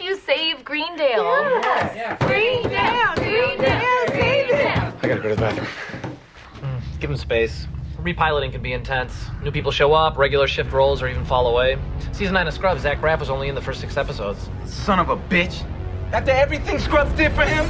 you save Greendale. Greendale, Greendale, Greendale. I gotta go to the bathroom. Give them space. Repiloting can be intense. New people show up, regular shift rolls, or even fall away. Season 9 of Scrubs, Zach Braff was only in the first six episodes. Son of a bitch. After everything Scrubs did for him.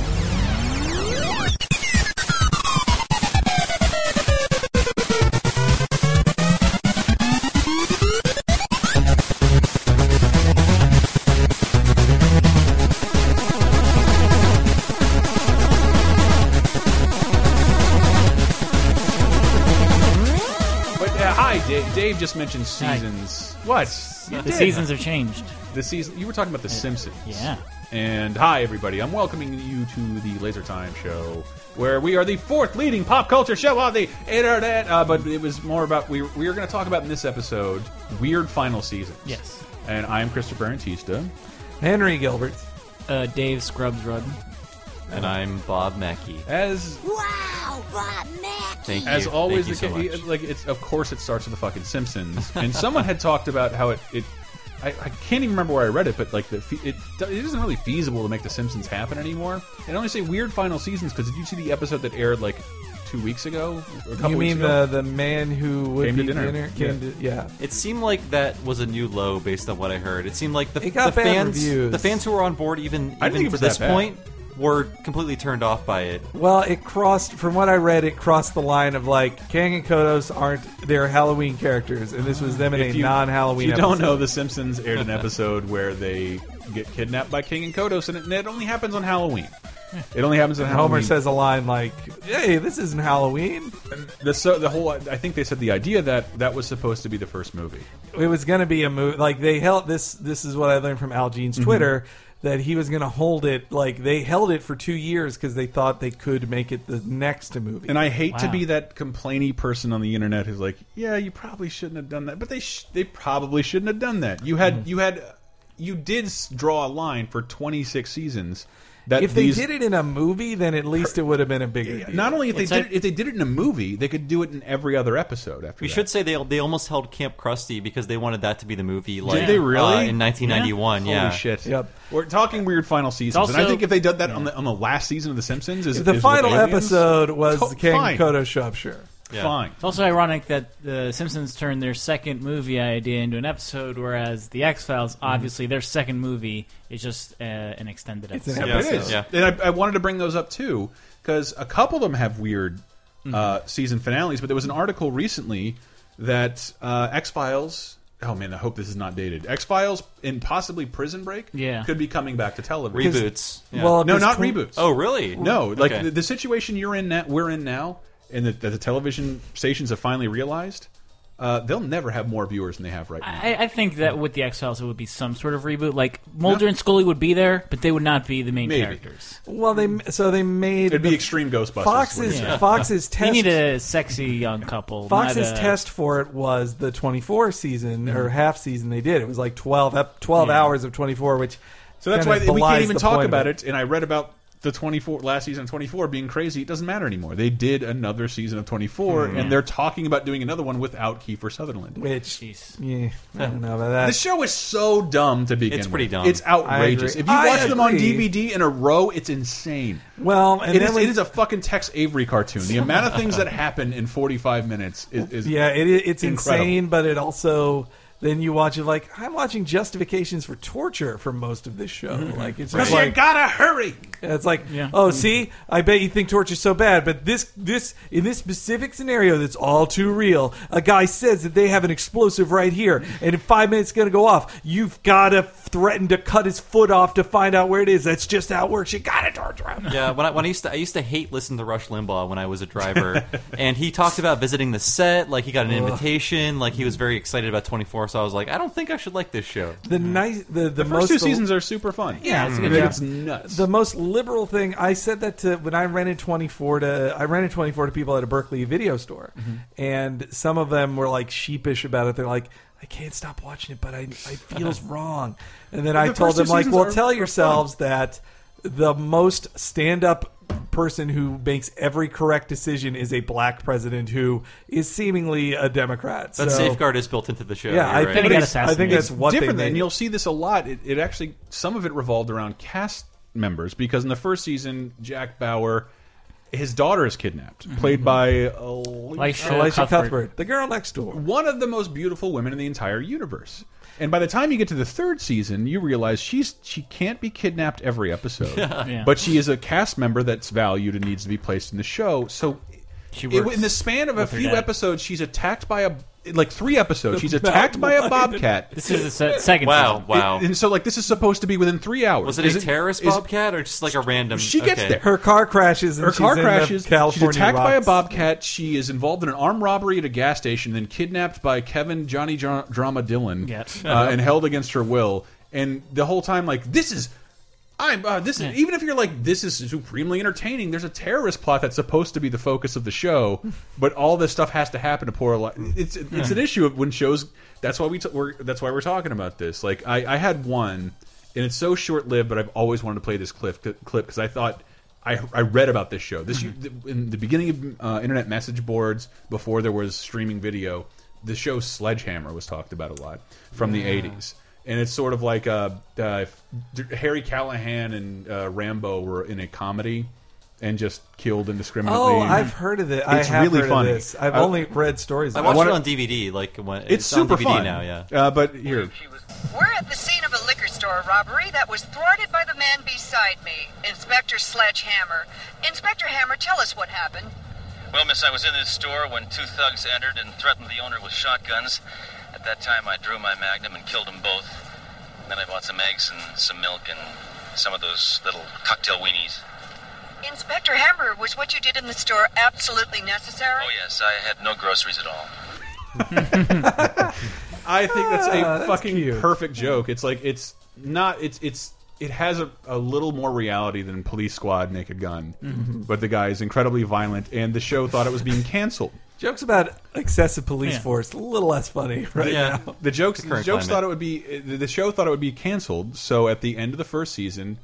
But, uh, hi, Dave. Dave just mentioned seasons. What? You The did. seasons have changed. The season. You were talking about The Simpsons. yeah. And hi, everybody. I'm welcoming you to the Laser Time Show, where we are the fourth leading pop culture show on the internet. Uh, but it was more about we we are going to talk about in this episode weird final seasons. Yes. And I am Christopher Antista, Henry Gilbert. Uh, Dave Scrubs Rudd. And I'm Bob Mackey. as Wow, Bob Mack. Thank you. As always, Thank the you ca- so much. like it's of course it starts with the fucking Simpsons, and someone had talked about how it. it I, I can't even remember where I read it, but like the fe- it, do- it isn't really feasible to make the Simpsons happen anymore. And I only say weird final seasons because did you see the episode that aired like two weeks ago? Or a couple You weeks mean ago? the the man who would Came to be dinner. Came Yeah. to yeah. It seemed like that was a new low based on what I heard. It seemed like the, It got the bad fans, reviews. the fans who were on board even I didn't think even it to was this that bad. point were completely turned off by it. Well, it crossed from what I read. It crossed the line of like Kang and Kodos aren't they're Halloween characters, and this was them in If a you- non-Halloween. If you don't episode. know, The Simpsons aired an episode where they get kidnapped by King and Kodos, and it, and it only happens on Halloween. It only happens on Halloween. Homer says a line like, "Hey, this isn't Halloween." the, so, the whole. I think they said the idea that that was supposed to be the first movie. It was going to be a movie. Like they held this. This is what I learned from Al Mm-hmm. Jean's Twitter that he was going to hold it. Like they held it for two years because they thought they could make it the next movie. And I hate to Wow. be that complainy person on the internet who's like, "Yeah, you probably shouldn't have done that," but they sh they probably shouldn't have done that. You had you had you did s- draw a line for twenty six seasons. That if they these- did it in a movie, then at least it would have been a bigger. deal. not only if they It's did it, like- if they did it in a movie, they could do it in every other episode. After We that. should say they they almost held Camp Krusty because they wanted that to be the movie. Like, they uh, really? in 1991? Holy Yeah. shit! Yep. We're talking weird final seasons, and I also- think if they did that on the on the last season of The Simpsons, is If the is with final aliens, episode was to- the King fine, Kodo Shropshire. Yeah. Fine. It's also ironic that The Simpsons turned their second movie idea into an episode, whereas The X Files, Mm-hmm. obviously, their second movie is just uh, an extended episode. an Yeah. It is. Yeah. And I, I wanted to bring those up too because a couple of them have weird Mm-hmm. uh, season finales. But there was an article recently that uh, X Files. Oh man, I hope this is not dated. X Files and possibly Prison Break. Yeah. could be coming back to television. Reboots. Yeah. Well, No, because not Queen- reboots. oh, really? no, like Okay. the, the situation you're in now, we're in now, and that that the television stations have finally realized. Uh, they'll never have more viewers than they have right now. I, I think that with The X Files, it would be some sort of reboot. Like, Mulder and Scully would be there, but they would not be the main Maybe. characters. Well, they so they made It'd be the- extreme Ghostbusters. would Fox's be- Fox's test. They need a sexy young couple. Fox's not a- test for it was the 24 season Mm-hmm. or half season they did. It was like 12 ep- 12 Yeah. hours of 24, which So that's why kinda we can't belies even the talk point of about it. And I read about the 24 last season of 24 being crazy. It doesn't matter anymore. They did another season of Hmm. 24, and they're talking about doing another one without Kiefer Sutherland. Which Jeez. yeah, I don't know about that. The show is so dumb to begin It's pretty with. dumb. It's outrageous. I If agree. you I watch them on agree. DVD in a row, it's insane. well, and It then is, we- it is a fucking Tex Avery cartoon. The amount of things that happen in 45 minutes is, is yeah, it, i- it's Incredible. insane, but it also then you watch it like I'm watching justifications for torture for most of this show. Mm-hmm. Like it's just Because you like gotta hurry. It's like, Yeah. oh, see, I bet you think torture's so bad, but this, this, in this specific scenario, that's all too real. A guy says that they have an explosive right here, and in five minutes, it's gonna go off. You've gotta threaten to cut his foot off to find out where it is. That's just how it works. You gotta torture him. Yeah, when I, when I used to I used to hate listening to Rush Limbaugh when I was a driver, and he talked about visiting the set, like he got an invitation, like he was very excited about 24. So I was like, I don't think I should like this show. The nice, the the, The most first two seasons are super fun. Yeah, it's a good I think show. it's nuts. The most liberal thing I said that to when I rented 24 to I rented 24 to people at a Berkeley video store, Mm-hmm. and some of them were like sheepish about it. They're like, I can't stop watching it, but I I feels wrong. And then I the told first two them like, seasons well, are- tell are yourselves that the most stand up person who makes every correct decision is a black president who is seemingly a Democrat. That so, safeguard is built into the show. Yeah, I you're right. think, They got it's- I think assassinated. that's what different they than made. you'll see this a lot. It, it actually some of it revolved around cast members because in the first season, Jack Bauer, his daughter is kidnapped, Mm-hmm, played by Alicia. Alicia Alicia Cuthbert. Cuthbert, the girl next door. one of the most beautiful women in the entire universe. And by the time you get to the third season, you realize she's she can't be kidnapped every episode, but she is a cast member that's valued and needs to be placed in the show. So. She it- works in the span of a with her few dad. episodes, she's attacked by a like three episodes. She's attacked by a bobcat. This is the se- second Wow, season. wow. It- and so, like, this is supposed to be within three hours. was it Is a terrorist is- bobcat or just like a random? She gets okay. there. Her car crashes. And Her she's car in the crashes. She's California attacked by a rocks. bobcat. She is involved in an armed robbery at a gas station, then kidnapped by Kevin Johnny Dra- Drama Dillon, Yes. Uh-huh. uh, and held against her will. And the whole time, like, this is. I'm, uh, this is, even if you're like this is supremely entertaining. There's a terrorist plot that's supposed to be the focus of the show, but all this stuff has to happen to poor. Li it's it's an issue of when shows. That's why we t we're, that's why we're talking about this. Like I, I had one, and it's so short lived, but I've always wanted to play this clip clip because I thought I, I read about this show. This in the beginning of uh, internet message boards before there was streaming video. The show Sledgehammer was talked about a lot from the '80s, and it's sort of like uh, uh, if Harry Callahan and uh, Rambo were in a comedy and just killed indiscriminately. Oh, I've heard of it. I It's have really heard funny. Of this. I've I- only read stories. I about wanna- watched it on DVD. Like when, It's, super on DVD fun now. Yeah. uh, but here, We're at the scene of a liquor store robbery that was thwarted by the man beside me, Inspector Sledgehammer. Inspector Hammer, tell us what happened. Well, miss, I was in this store when two thugs entered and threatened the owner with shotguns. At that time, I drew my magnum and killed them both. Then I bought some eggs and some milk and some of those little cocktail weenies. Inspector Hammer, was what you did in the store absolutely necessary? Oh, yes, I had no groceries at all. I think that's a Ah, that's fucking cute. perfect joke. It's like it's not. It's it's it has a, a little more reality than Police Squad Naked Gun, Mm-hmm. but the guy is incredibly violent, and the show thought it was being canceled. Jokes about excessive police Yeah. force, a little less funny, right? yeah. The jokes, the current jokes climate. thought it would be the the show thought it would be canceled. So at the end of the first season,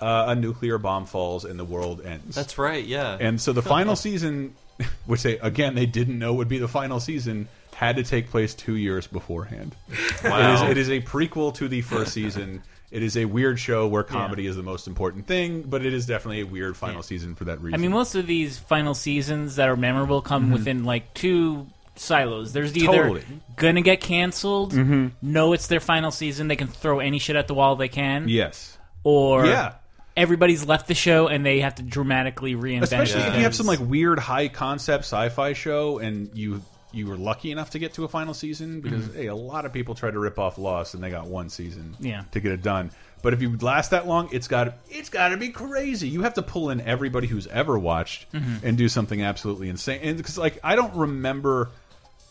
uh, a nuclear bomb falls and the world ends. That's right. Yeah. and so the final season, which they again they didn't know would be the final season, had to take place two years beforehand. It is, wow. it is a prequel to the first season. It is a weird show where comedy is the most important thing, but it is definitely a weird final season for that I reason. mean, most of these final seasons that are memorable come within like two silos. There's either Mm-hmm. Totally. Mm-hmm. gonna get canceled, no, it's their final season, they can throw any shit at the wall they can, yes, or yeah. everybody's left the show and they have to dramatically reinvent. Especially if things. you have some like weird high concept sci-fi show and you you were lucky enough to get to a final season because Mm-hmm. hey, a lot of people tried to rip off Lost and they got one season Yeah. to get it done. But if you last that long, it's got it's got to be crazy. You have to pull in everybody who's ever watched Mm-hmm. and do something absolutely insane. And because like I don't remember.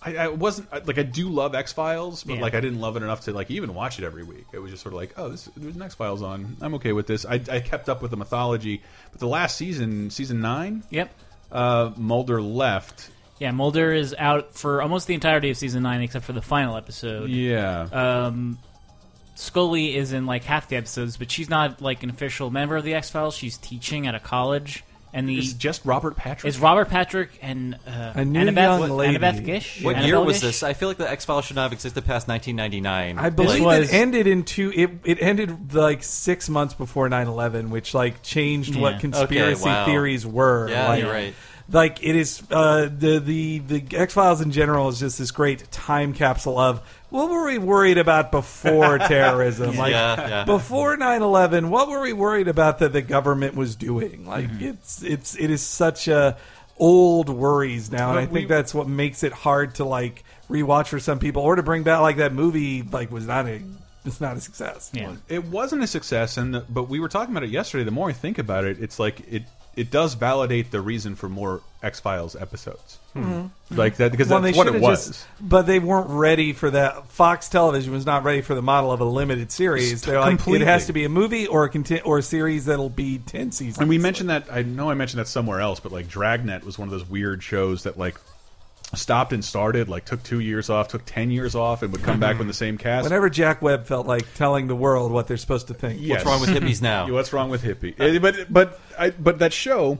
I, I wasn't I- like I do love X Files, but Yeah. like I didn't love it enough to like even watch it every week. It was just sort of like, oh, this, there's an X Files on. I'm okay with this. I, I kept up with the mythology, but the last season, season nine, yep. uh, Mulder left. Yeah, Mulder is out for almost the entirety of season nine, except for the final episode. Yeah, Scully is in like half the episodes, but she's not like an official member of the X Files. She's teaching at a college, and the it's just Robert Patrick. It's Robert Patrick and uh, A new Annabeth, young lady. Annabeth Gish. what Annabelle year was Gish? this? I feel like the X Files should not have existed past 1999. I believe was- it ended in two. It, it ended like six months before 9-11, which like changed Yeah. what conspiracy Okay, wow. theories were. Yeah, like, you're right. Like it is uh, the the the X Files in general is just this great time capsule of what were we worried about before terrorism? Like Yeah, yeah. before 9-11, what were we worried about that the government was doing? Like Mm-hmm. it's it's it is such a old worries now, and I But we- think that's what makes it hard to like rewatch for some people or to bring back like that movie like was not a it's not a success. Yeah. It wasn't a success, and the, but we were talking about it yesterday. The more I think about it, it's like it it does validate the reason for more X Files episodes, like that because Hmm. Well, they that's what it should've was. just, but they weren't ready for that. Fox Television was not ready for the model of a limited series. They're like, Completely. it has to be a movie or a conti- or a series that'll be ten seasons. And we mentioned that I know I mentioned that somewhere else, but like Dragnet was one of those weird shows that like stopped and started, like took two years off, took ten years off, and would come back with the same cast. whenever Jack Webb felt like telling the world what they're supposed to think. Yes. What's wrong with hippies now? Yeah, What's wrong with hippie? Eh, But but I, but that show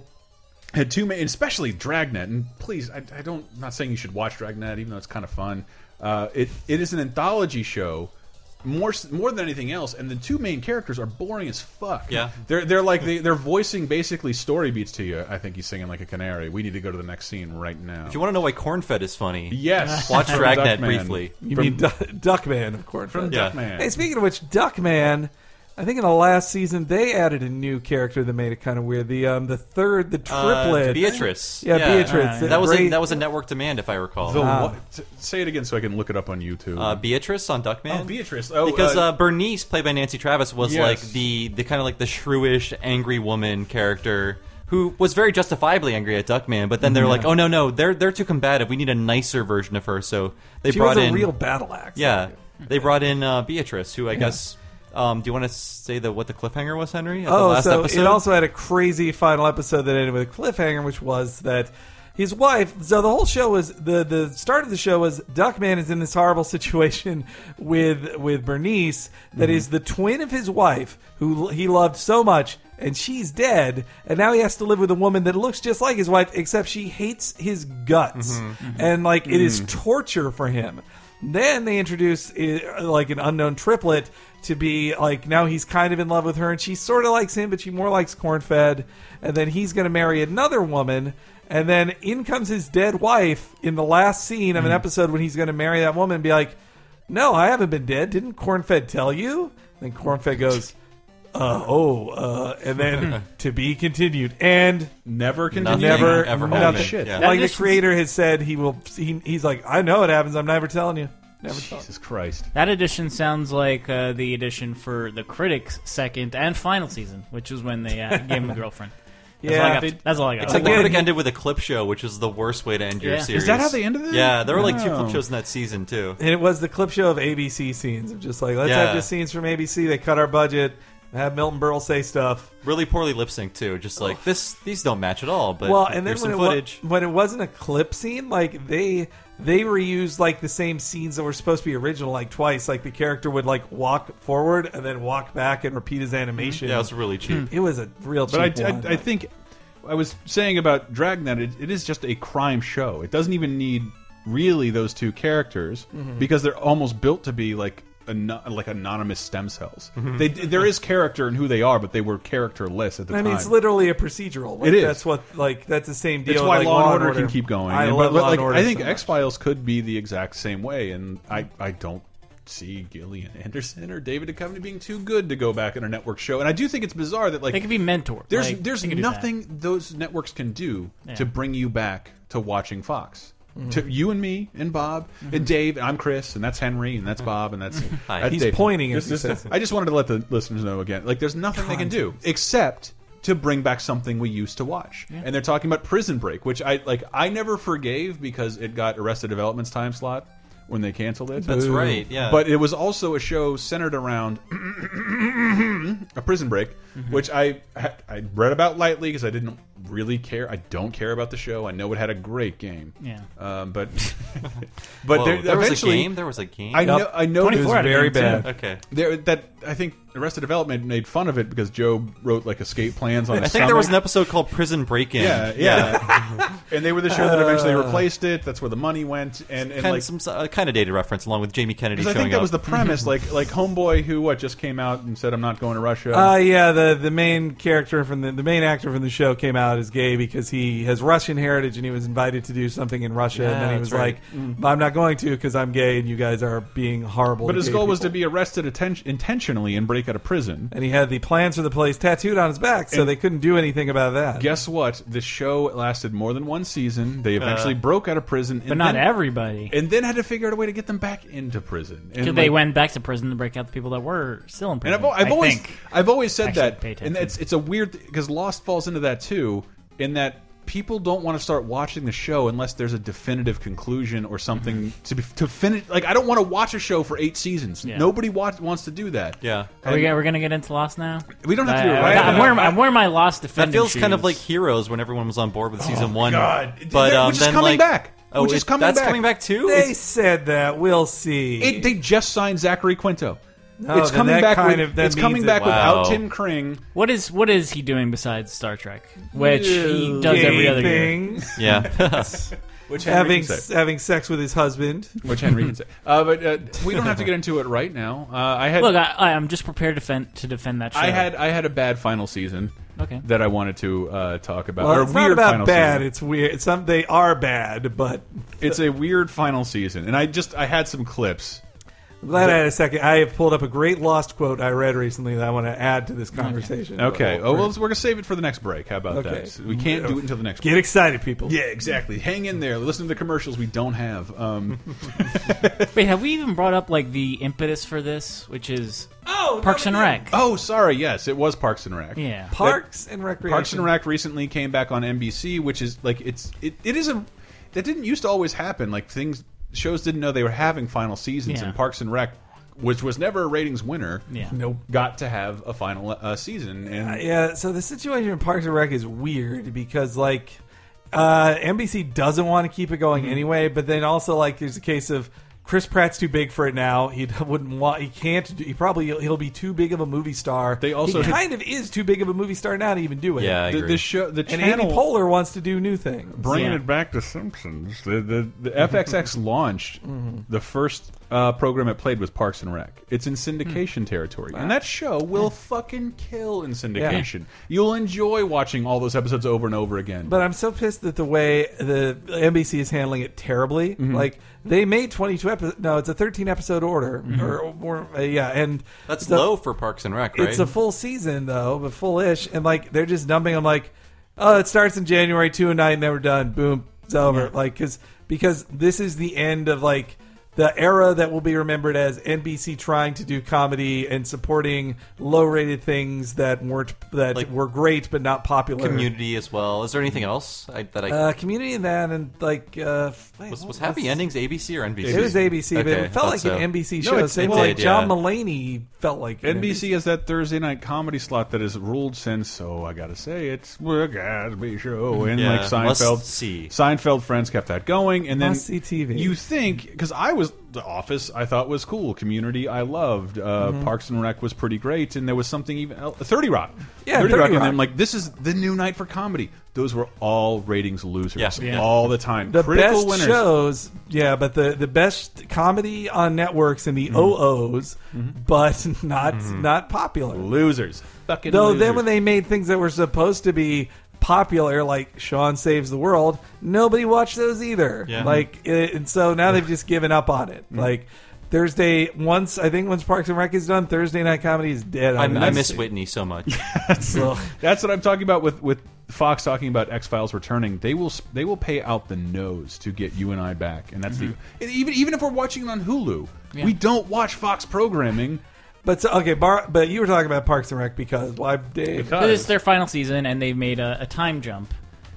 had too many, especially Dragnet. And please, I, I don't. I'm not saying you should watch Dragnet, even though it's kind of fun. Uh, it it is an anthology show. More, s- more than anything else, and the two main characters are boring as fuck. Yeah. they're they're like they, they're voicing basically story beats to you. I think he's singing like a canary. We need to go to the next scene right now. If you want to know why cornfed is funny, yes, watch from Dragnet Duckman. briefly. You From mean du- Duckman, of course. From Yeah. Duckman. Hey, speaking of which, Duckman. I think in the last season they added a new character that made it kind of weird. The um the third the Uh, triplet Beatrice. Yeah, Beatrice. Ah, yeah. That was a, Great- that was a network demand, if I recall. The what? T- Say it again so I can look it up on YouTube. uh, Beatrice on Duckman. Oh, Beatrice. Oh, because uh, uh, Bernice, played by Nancy Travis, was Yes. like the the kind of like the shrewish, angry woman character who was very justifiably angry at Duckman. But then they're like, oh no, no, they're they're too combative. We need a nicer version of her. So they she brought was a in real battle axe. yeah, they brought in uh, Beatrice, who I guess. Um, do you want to say the what the cliffhanger was, Henry? At the Oh, last so episode? it also had a crazy final episode that ended with a cliffhanger, which was that his wife. So the whole show was the the start of the show was Duckman is in this horrible situation with with Bernice Mm-hmm. that is the twin of his wife who l- he loved so much. And she's dead, and now he has to live with a woman that looks just like his wife, except she hates his guts, Mm-hmm. and like it is torture for him. Then they introduce uh, like an unknown triplet to be like now he's kind of in love with her and she sort of likes him but she more likes cornfed and then he's going to marry another woman and then in comes his dead wife in the last scene of an episode when he's going to marry that woman and be like no i haven't been dead didn't cornfed tell you and then cornfed goes uh, oh uh, and then to be continued and never Nothing continue. never ever nothing. happened. Shit. Yeah. like the That- creator has said he will he, he's like i know it happens i'm never telling you never telling you. Jesus Christ. That edition sounds like uh, the edition for the critics' second and final season, which was when they uh, gave him a girlfriend. That's all I Yeah, got. they- that's all I got. It's like the Again, critic he- ended with a clip show, which is the worst way to end your Yeah. Is series. that how they ended it? Yeah, there were like two Wow. clip shows in that season too. And it was the clip show of ABC scenes of just like let's Yeah. have just scenes from ABC. They cut our budget, have Milton Berle say stuff. Really poorly lip synced too. Just like this, these don't match at all. But well, and then here's when some it, wa- footage. when it wasn't a clip scene, like they they reused like the same scenes that were supposed to be original like twice. Like the character would like walk forward and then walk back and repeat his animation. Mm-hmm. yeah, it was really Hmm. cheap. it was a real. Cheap But I, one. I, I think I was saying about Dragnet, it, it is just a crime show. It doesn't even need really those two characters because they're almost built to be like ano like anonymous stem cells. They, there is character in who they are, but they were characterless at the I time. mean, it's literally a procedural. Like, It is. That's what like that's the same deal. It's with, why like, Law and Order, Order, can keep going. I And- love but, Law like, and Order. I think so much. X Files could be the exact same way, and I, I don't see Gillian Anderson or David Duchovny being too good to go back on a network show. And I do think it's bizarre that like They could be mentored. there's Like, there's they could do that. nothing those networks can do to bring you back to watching Fox. To you and me and Bob and Dave and I'm Chris and that's Henry and that's Bob and that's Hi. that's He's Dave. pointing This- as he this- says it. I just wanted to let the listeners know again. Like there's nothing they can do except to bring back something we used to watch. And they're talking about Prison Break, which I like I never forgave because it got Arrested Development's time slot when they canceled it. That's right, yeah. But it was also a show centered around a prison break, which I I read about lightly because I didn't really care. I don't care about the show. I know it had a great game. Yeah. Um, but but Whoa, there, there was a eventually, game. There was a game. I know I know It was very bad. okay. There, that I think Arrested Development made fun of it because Joe wrote like escape plans on. I think there was an episode called Prison Break In. Yeah, yeah, and they were the show that eventually Uh. replaced it. That's where the money went, and, and Kind, like some uh, kind of dated reference along with Jamie Kennedy because I showing think that up. was the premise. like like homeboy who what just came out and said I'm not going to Russia. Uh, yeah, the, the main character from the, the main actor from the show came out as gay because he has Russian heritage and he was invited to do something in Russia and then Yeah, he was that's right. like, "I'm not going to because I'm gay and you guys are being horrible." Mm-hmm. But to his gay goal was to people." be arrested atten- intentionally and break out of prison. and he had the plans for the place tattooed on his back, so And- they couldn't do anything about that. Guess what? The show lasted more than one season. They eventually broke out of prison, and But not then, everybody. And then had to figure out a way to get them back into prison. And 'Cause they like- went back to prison to break out the people that were still in And prison. I've, al- I've I always think. I've always said Actually, that, pay and attention. it's it's a weird because Lost falls into that too, in that people don't want to start watching the show unless there's a definitive conclusion or something to be, to finish. Like I don't want to watch a show for eight seasons. Mm-hmm. Yeah. Nobody wa- wants to do that. yeah. Are we, we're gonna get into Lost now. We don't have to do it I- right I, am now. wearing, I'm wearing my Lost That defending. feels kind of shoes. like Heroes when everyone was on board with season one. Oh, God. But Which um, is then, coming like- back. Oh, Which is it- coming that's back. coming back too. they It's- said that. We'll see. It, they just signed Zachary Quinto. No, it's then coming that back. kind with, of- that it's coming means back it. Wow. without Tim Kring. What is what is he doing besides Star Trek, which he Yeah. does every other year? things. Yeah. Which Henry having can say. having sex with his husband. Which Henry can say. Uh, but uh, we don't have to get into it right now. Uh, I had Look, I, I, I'm just prepared to defend to defend that. Show. I had I had a bad final season okay. that I wanted to uh, talk about. Well, or it's weird not final about bad. season. It's weird. Some they are bad, but It's a weird final season, and I just I had some clips. I'm glad I had a second. I have pulled up a great lost quote I read recently that I want to add to this conversation. Okay. Oh well, we're gonna save it for the next break. How about Okay. that? We can't do it until the next. Get break. excited, people. Yeah, exactly. Hang in there. Listen to the commercials we don't have. Um, Wait, have we even brought up like the impetus for this, which is Oh, Parks and Rec? oh, sorry. Yes, it was Parks and Rec. Yeah. Parks and Recreation. Parks and Rec recently came back on NBC, which is like it's it, it is a that didn't used to always happen. Like things shows didn't know they were having final seasons, Yeah. and Parks and Rec, which was never a ratings winner, Yeah. nope, got to have a final uh, season. And Yeah, so the situation in Parks and Rec is weird because like uh, NBC doesn't want to keep it going Mm-hmm. anyway, but then also like there's a case of Chris Pratt's too big for it now. He wouldn't want. He can't. do- He probably he'll be too big of a movie star. They also- he kind of is too big of a movie star now to even do it. Yeah, I the, agree. the show the and channel Andy Poehler wants to do new things. bringing Yeah. it back to Simpsons. The the, the Mm-hmm. FXX launched the first uh, program it played was Parks and Rec. It's in Hmm. syndication territory, and that show will fucking kill in syndication. You'll enjoy watching all those episodes over and over again. But I'm so pissed that the way the NBC is handling it terribly. Like they made 22 episodes. No, it's a 13 episode order or, or uh, yeah, and That's the- low for Parks and Rec, right? It's a full season though, but full ish, and like they're just dumping. I'm like, oh, it starts in January two and nine, then we're done. Boom, it's over. Like because because this is the end of like the era that will be remembered as NBC trying to do comedy and supporting low rated things that weren't that Like- were great but not popular. Community as well. Is there anything else I, that I Uh, community and that and like uh, wait, was, was what Happy Endings ABC or NBC? It was ABC, but Okay, it felt thought like so. an NBC No, show. it's- Same it way like did, John yeah. Mulaney felt like an NBC is that Thursday night comedy slot that is ruled since. So I gotta say, it's the Gatsby Show, and Yeah, like Seinfeld. must see. Seinfeld friends kept that going, and then Must see TV. You think because I was The Office, I thought was cool. Community, I loved. Uh, Mm-hmm. Parks and Rec was pretty great, and there was something even else, Thirty Rock. Yeah, 30 30 Rock, and Rock. I'm like, this is the new night for comedy. Those were all ratings losers Yeah. Yeah. all the time. the Critical best winners. shows, yeah, but the the best comedy on networks in the OOs, but not not popular. Losers. Fucking Though losers. then when they made things that were supposed to be popular, like Sean Saves the World, nobody watched those either. Yeah. Like, it, and so now they've just given up on it. Like Thursday, once I think once Parks and Rec is done, Thursday night comedy is dead. I, on Um, I NBC. miss Whitney so much. Ugh. That's what I'm talking about with with Fox talking about X Files returning. They will s- they will pay out the nose to get you and I back, and that's Mm-hmm. the and even even if we're watching it on Hulu, we don't watch Fox programming. But so, okay, bar, but you were talking about Parks and Rec because why, Dave? But This is their final season, and they've made a, a time jump.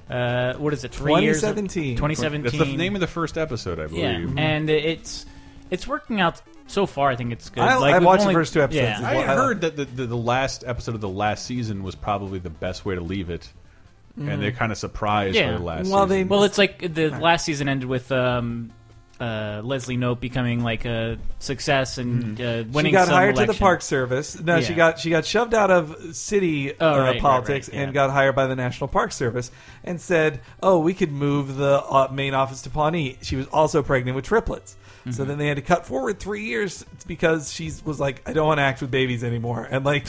Uh, what is it? Three years. 2017. that's 2017. the name of the first episode, I yeah, believe. and it's it's working out so far. I think it's good. I- I we've watched the first two episodes. Yeah. I Well, I- heard that the, the the last episode of the last season was probably the best way to leave it, and they're kind of surprised Mm-hmm. Yeah. by the last. Well, season. they- Well, it's like the last season ended with um, uh, Leslie Nope becoming like a success and uh, winning. Hmm. she got some hired to the election. Park Service. No, she Yeah. got she got shoved out of city Oh, uh, right, right, politics right, yeah. and got hired by the National Park Service and said, "Oh, we could move the uh, main office to Pawnee." She was also pregnant with triplets, Mm-hmm. so then they had to cut forward three years because she was like, "I don't want to act with babies anymore," and like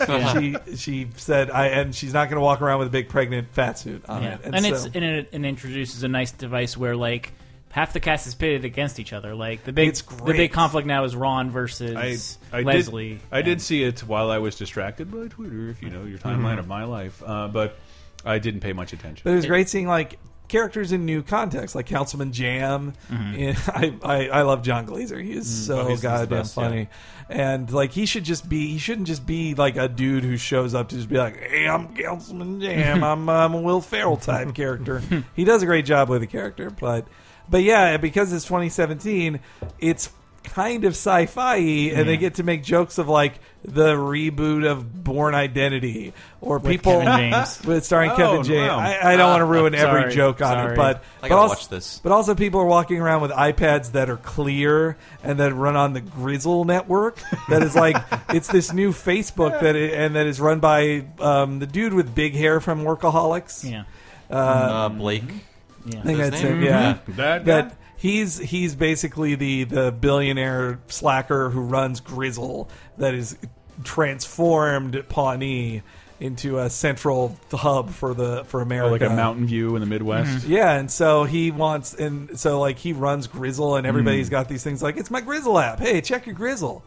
she she said, "I and she's not going to walk around with a big pregnant fat suit on Yeah. it." And, it's so- and it, and introduces a nice device where like half the cast is pitted against each other. Like the big It's the great. big conflict now is Ron versus Leslie. Did, I did see it while I was distracted by Twitter, if you know your timeline Mm-hmm. of my life, uh, but I didn't pay much But it attention. was great seeing like characters in new contexts, like Councilman Jam. And I, I I love John Glazer. He is so Mm-hmm. Mm, oh, he's- he's the goddamn best, funny, and like he should just be he shouldn't just be like a dude who shows up to just be like, hey, I'm Councilman Jam. I'm uh, I'm a Will Ferrell type character. He does a great job with the character, but but yeah, because it's 2017, it's kind of sci-fi and they get to make jokes of like the reboot of Born Identity or people Kevin James. with starring Oh, Ah, Kevin James. wow. I, I don't want to ruin every sorry, joke on it, sorry. but I but gotta also, watch this. But also, people are walking around with iPads that are clear and that run on the Grizzle network. That is like it's this new Facebook that i and that is run by um, the dude with big hair from Workaholics. Yeah. Uh, Blake. I think His that's name? Mm-hmm. it. Yeah, That, that he's he's basically the the billionaire slacker who runs Grizzle that is transformed Pawnee into a central hub for the for America, like a mountain view in the Midwest. Mm-hmm. Yeah, and so he wants, and so like he runs Grizzle, and Mm. everybody's got these things like it's my Grizzle app. Hey, check your Grizzle.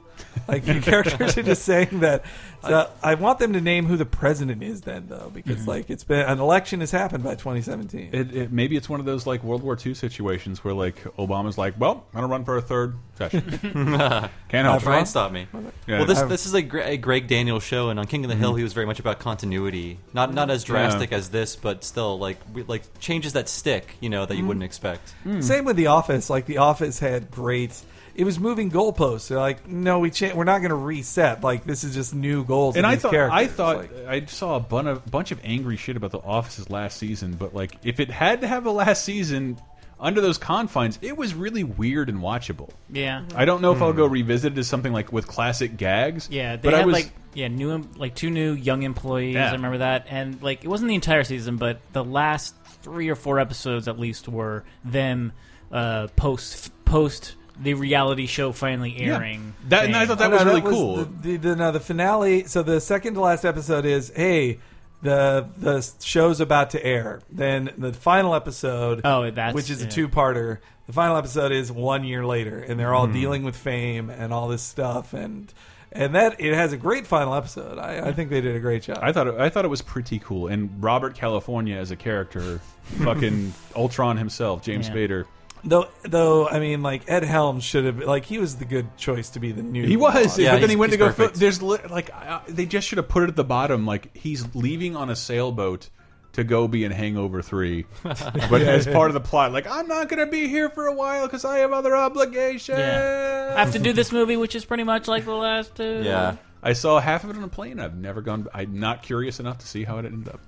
Like your characters are just saying that. So I want them to name who the president is then, though, because like it's been an election has happened by 2017. Mm-hmm. It, it, maybe it's one of those like World War II situations where like Obama's like, well, I'm gonna run for a third session. Can't help. Try it. and stop me. Yeah. Mm-hmm. Well, this this is a, Gre- a Greg Daniels show, and on King of the Hill, he was very much about continuity. Not not as drastic as this, but still like we, like changes that stick, you know, that you wouldn't expect. Mm. Same with The Office. Like The Office had great. It was moving goalposts. They're like, no, we cha- we're not going to reset. Like this is just new goals. And in I these thought characters. I thought Like- I saw a bun of, bunch of angry shit about the Office's last season, but like if it had to have a last season under those confines, it was really weird and watchable. Yeah. I don't know if Hmm. I'll go revisit it as something like with classic gags. Yeah, they but had I was like yeah new em- like two new young employees. Yeah. I remember that, and like it wasn't the entire season, but the last three or four episodes at least were them uh, post post the reality show finally yeah. airing. That and I thing. thought that Oh, was no, really cool. The, the, the, no, the finale. So the second to last episode is hey. The the show's about to air. Then the final episode, Oh, that's- which is yeah. a two parter. The final episode is one year later, and they're Hmm. all dealing with fame and all this stuff, and and that it has a great final episode. I, I think they did a great job. I thought it, I thought it was pretty cool. And Robert California as a character, fucking Ultron himself, James Yeah. Spader. Though, though, I mean, like Ed Helms should have, like, he was the good choice to be the new. He was, boss. Yeah, but then he's- he went to he's go. perfect. Fo- there's li like I they just should have put it at the bottom. Like he's leaving on a sailboat to go be in Hangover Three, but as part of the plot, like I'm not gonna be here for a while because I have other obligations. Yeah. I have to do this movie, which is pretty much like the last two. Yeah. I saw half of it on a plane. I've never gone. I'm not curious enough to see how it ended up.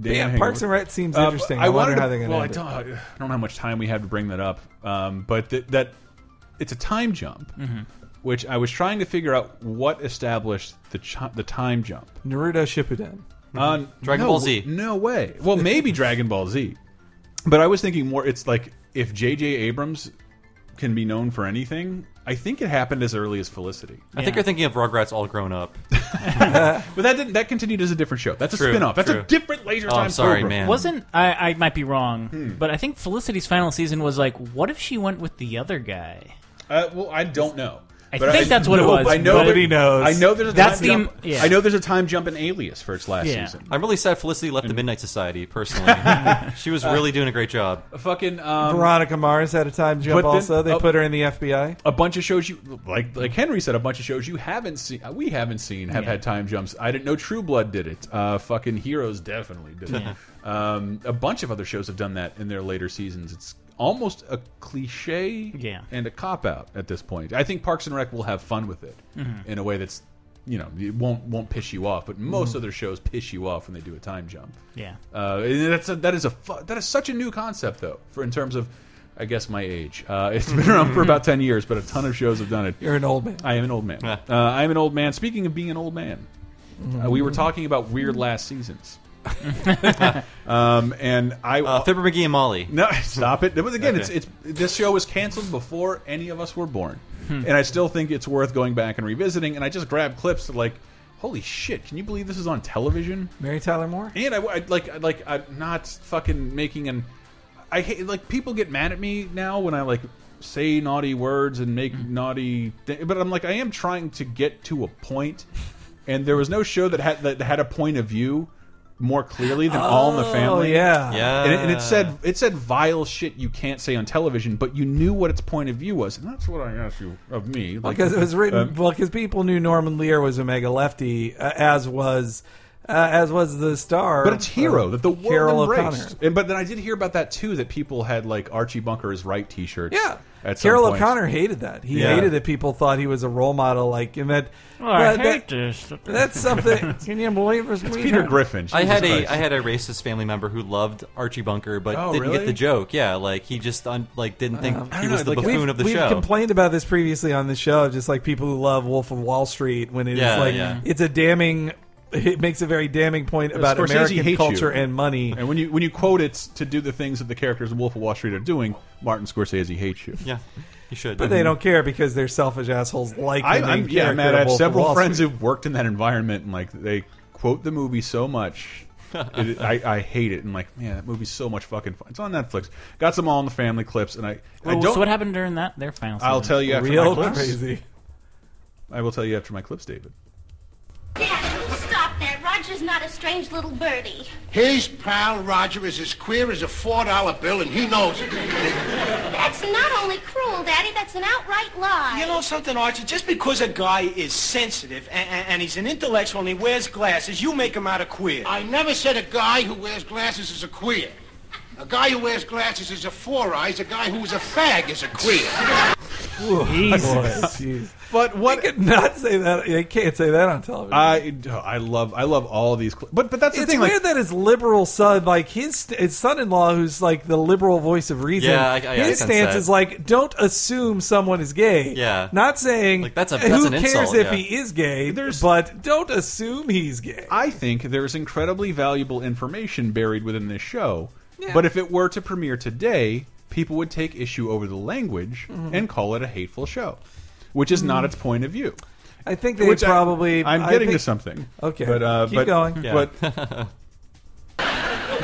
Damn Yeah, Hangover. Parks and Rec seems Uh, interesting. I, I, wonder wanted to, how they're going to. well, I don't, I don't know how much time we have to bring that up, um, but th that it's a time jump, Mm-hmm. which I was trying to figure out what established the chi- the time jump. Naruto Shippuden. On Dragon no, Ball Z. No way. Well, maybe Dragon Ball Z. But I was thinking more. It's like if J.J. Abrams can be known for anything, I think it happened as early as Felicity. I think you're thinking of Rugrats all grown up. But that didn't. That continued as a different show. That's a True, spin-off. That's a true. different laser Oh, time. I'm sorry, program. man. Wasn't I? I might be wrong, Hmm. but I think Felicity's final season was like, what if she went with the other guy? Uh, well, I don't know. I think that's what it no, was, I know Nobody there- knows. I know there's a That's time the- jump. yeah. I know there's a time jump in Alias for its last Yeah. season. I'm really sad Felicity left the Midnight Society. Personally, she was really doing a great job. Uh, Fucking um, Veronica Mars had a time jump. But then- also, they oh. put her in the FBI. a bunch of shows you like. Like Henry said, a bunch of shows you haven't seen. uh, We haven't seen have had time jumps. I didn't know True Blood did it. Uh, fucking Heroes definitely did it. Um, a bunch of other shows have done that in their later seasons. It's almost a cliche Yeah. and a cop out at this point. I think Parks and Rec will have fun with it in a way that's. You know, it won't won't piss you off, but most other shows piss you off when they do a time jump. Yeah. Uh, and that's a, that is a fu- that is such a new concept though for in terms of I guess my age. Uh, it's been around for about ten years, but a ton of shows have done it. You're an old man. I am an old man. Uh, I am an old man. Speaking of being an old man, uh, we Mm-hmm. were talking about weird last seasons, um, and I Uh, Fibber McGee and Molly. no stop it. It was again. Okay. It's it's this show was canceled before any of us were born, Hmm. and I still think it's worth going back and revisiting. And I just grabbed clips to like, holy shit! Can you believe this is on television? Mary Tyler Moore. And I, I like I, like I'm not fucking making an. I hate like people get mad at me now when I like say naughty words and make Hmm. naughty. Th but I'm like I am trying to get to a point, and there was no show that had that had a point of view more clearly than All in the Oh Family. yeah. Yeah, And it, and it Ah. said it said vile shit you can't say on television, but you knew what its point of view was, and that's what I asked you of me. Like, Because it was written. um, well, because people knew Norman Lear was a mega lefty, uh, as was, uh, as was the star. But it's hero uh, that the world Carol embraced. O'Connor. And, but then I did hear about that too. That people had like Archie Bunker is right T-shirts. Yeah. At some Carol point. O'Connor hated that. He Yeah. hated that people thought he was a role model. Like, and that. Oh, I but that- hate this. That's something. Can you believe this? Peter Griffin. I Jesus had a Christ. I had a racist family member who loved Archie Bunker but Oh, didn't really? Uh, get the joke. Yeah, like he just un, like didn't think I he don't was know, the like, buffoon We've, of the we've show. complained about this previously on the show, just like people who love Wolf of Wall Street, when it's Yeah, like yeah. it's a damning, it makes a very damning point about Scorsese hates American you. culture and money. And when you when you quote it to do the things that the characters in Wolf of Wall Street are doing, Martin Scorsese hates you. yeah, he should. But they don't care because they're selfish assholes like I, the I'm main yeah, character I'm mad. of I have Wolf of several Wall friends Street. who've worked in that environment, and like they quote the movie so much. It- I, I hate it, and like man, that movie's so much fucking fun. It's on Netflix. Got some all in the family clips, and I I Well, don't. so what happened during that? Their final. Season? I'll tell you after Real my clips. crazy. I will tell you after my clips, David. Dad, stop that. Roger's not a strange little birdie. His pal Roger is as queer as a $4 bill, and he knows it. That's not only cruel, Daddy, that's an outright lie. You know something, Archie? Just because a guy is sensitive and, and, and he's an intellectual and he wears glasses, you make him out of queer. I never said a guy who wears glasses is a queer. A guy who wears glasses is a four eyes. A guy who is a fag is a queer. Jesus. Jeez. But I what? could not say that. I can't say that on television. I oh, I love I love all these clips. But but that's the it's thing. weird like, that his liberal son, like his, his son-in-law, who's like the liberal voice of reason, Yeah, I- I- I his sense stance that. is like, don't assume someone is gay. Yeah. not saying Like, that's a- who that's an cares insult, if yeah. he is gay, There's- but don't assume he's gay. I think there's incredibly valuable information buried within this show. Yeah. But if it were to premiere today, people would take issue over the language Mm-hmm. and call it a hateful show, which is not its point of view. I think Mm-hmm. they which I- probably. I'm I getting think- to something. Okay. but uh, Keep but, going. Yeah. But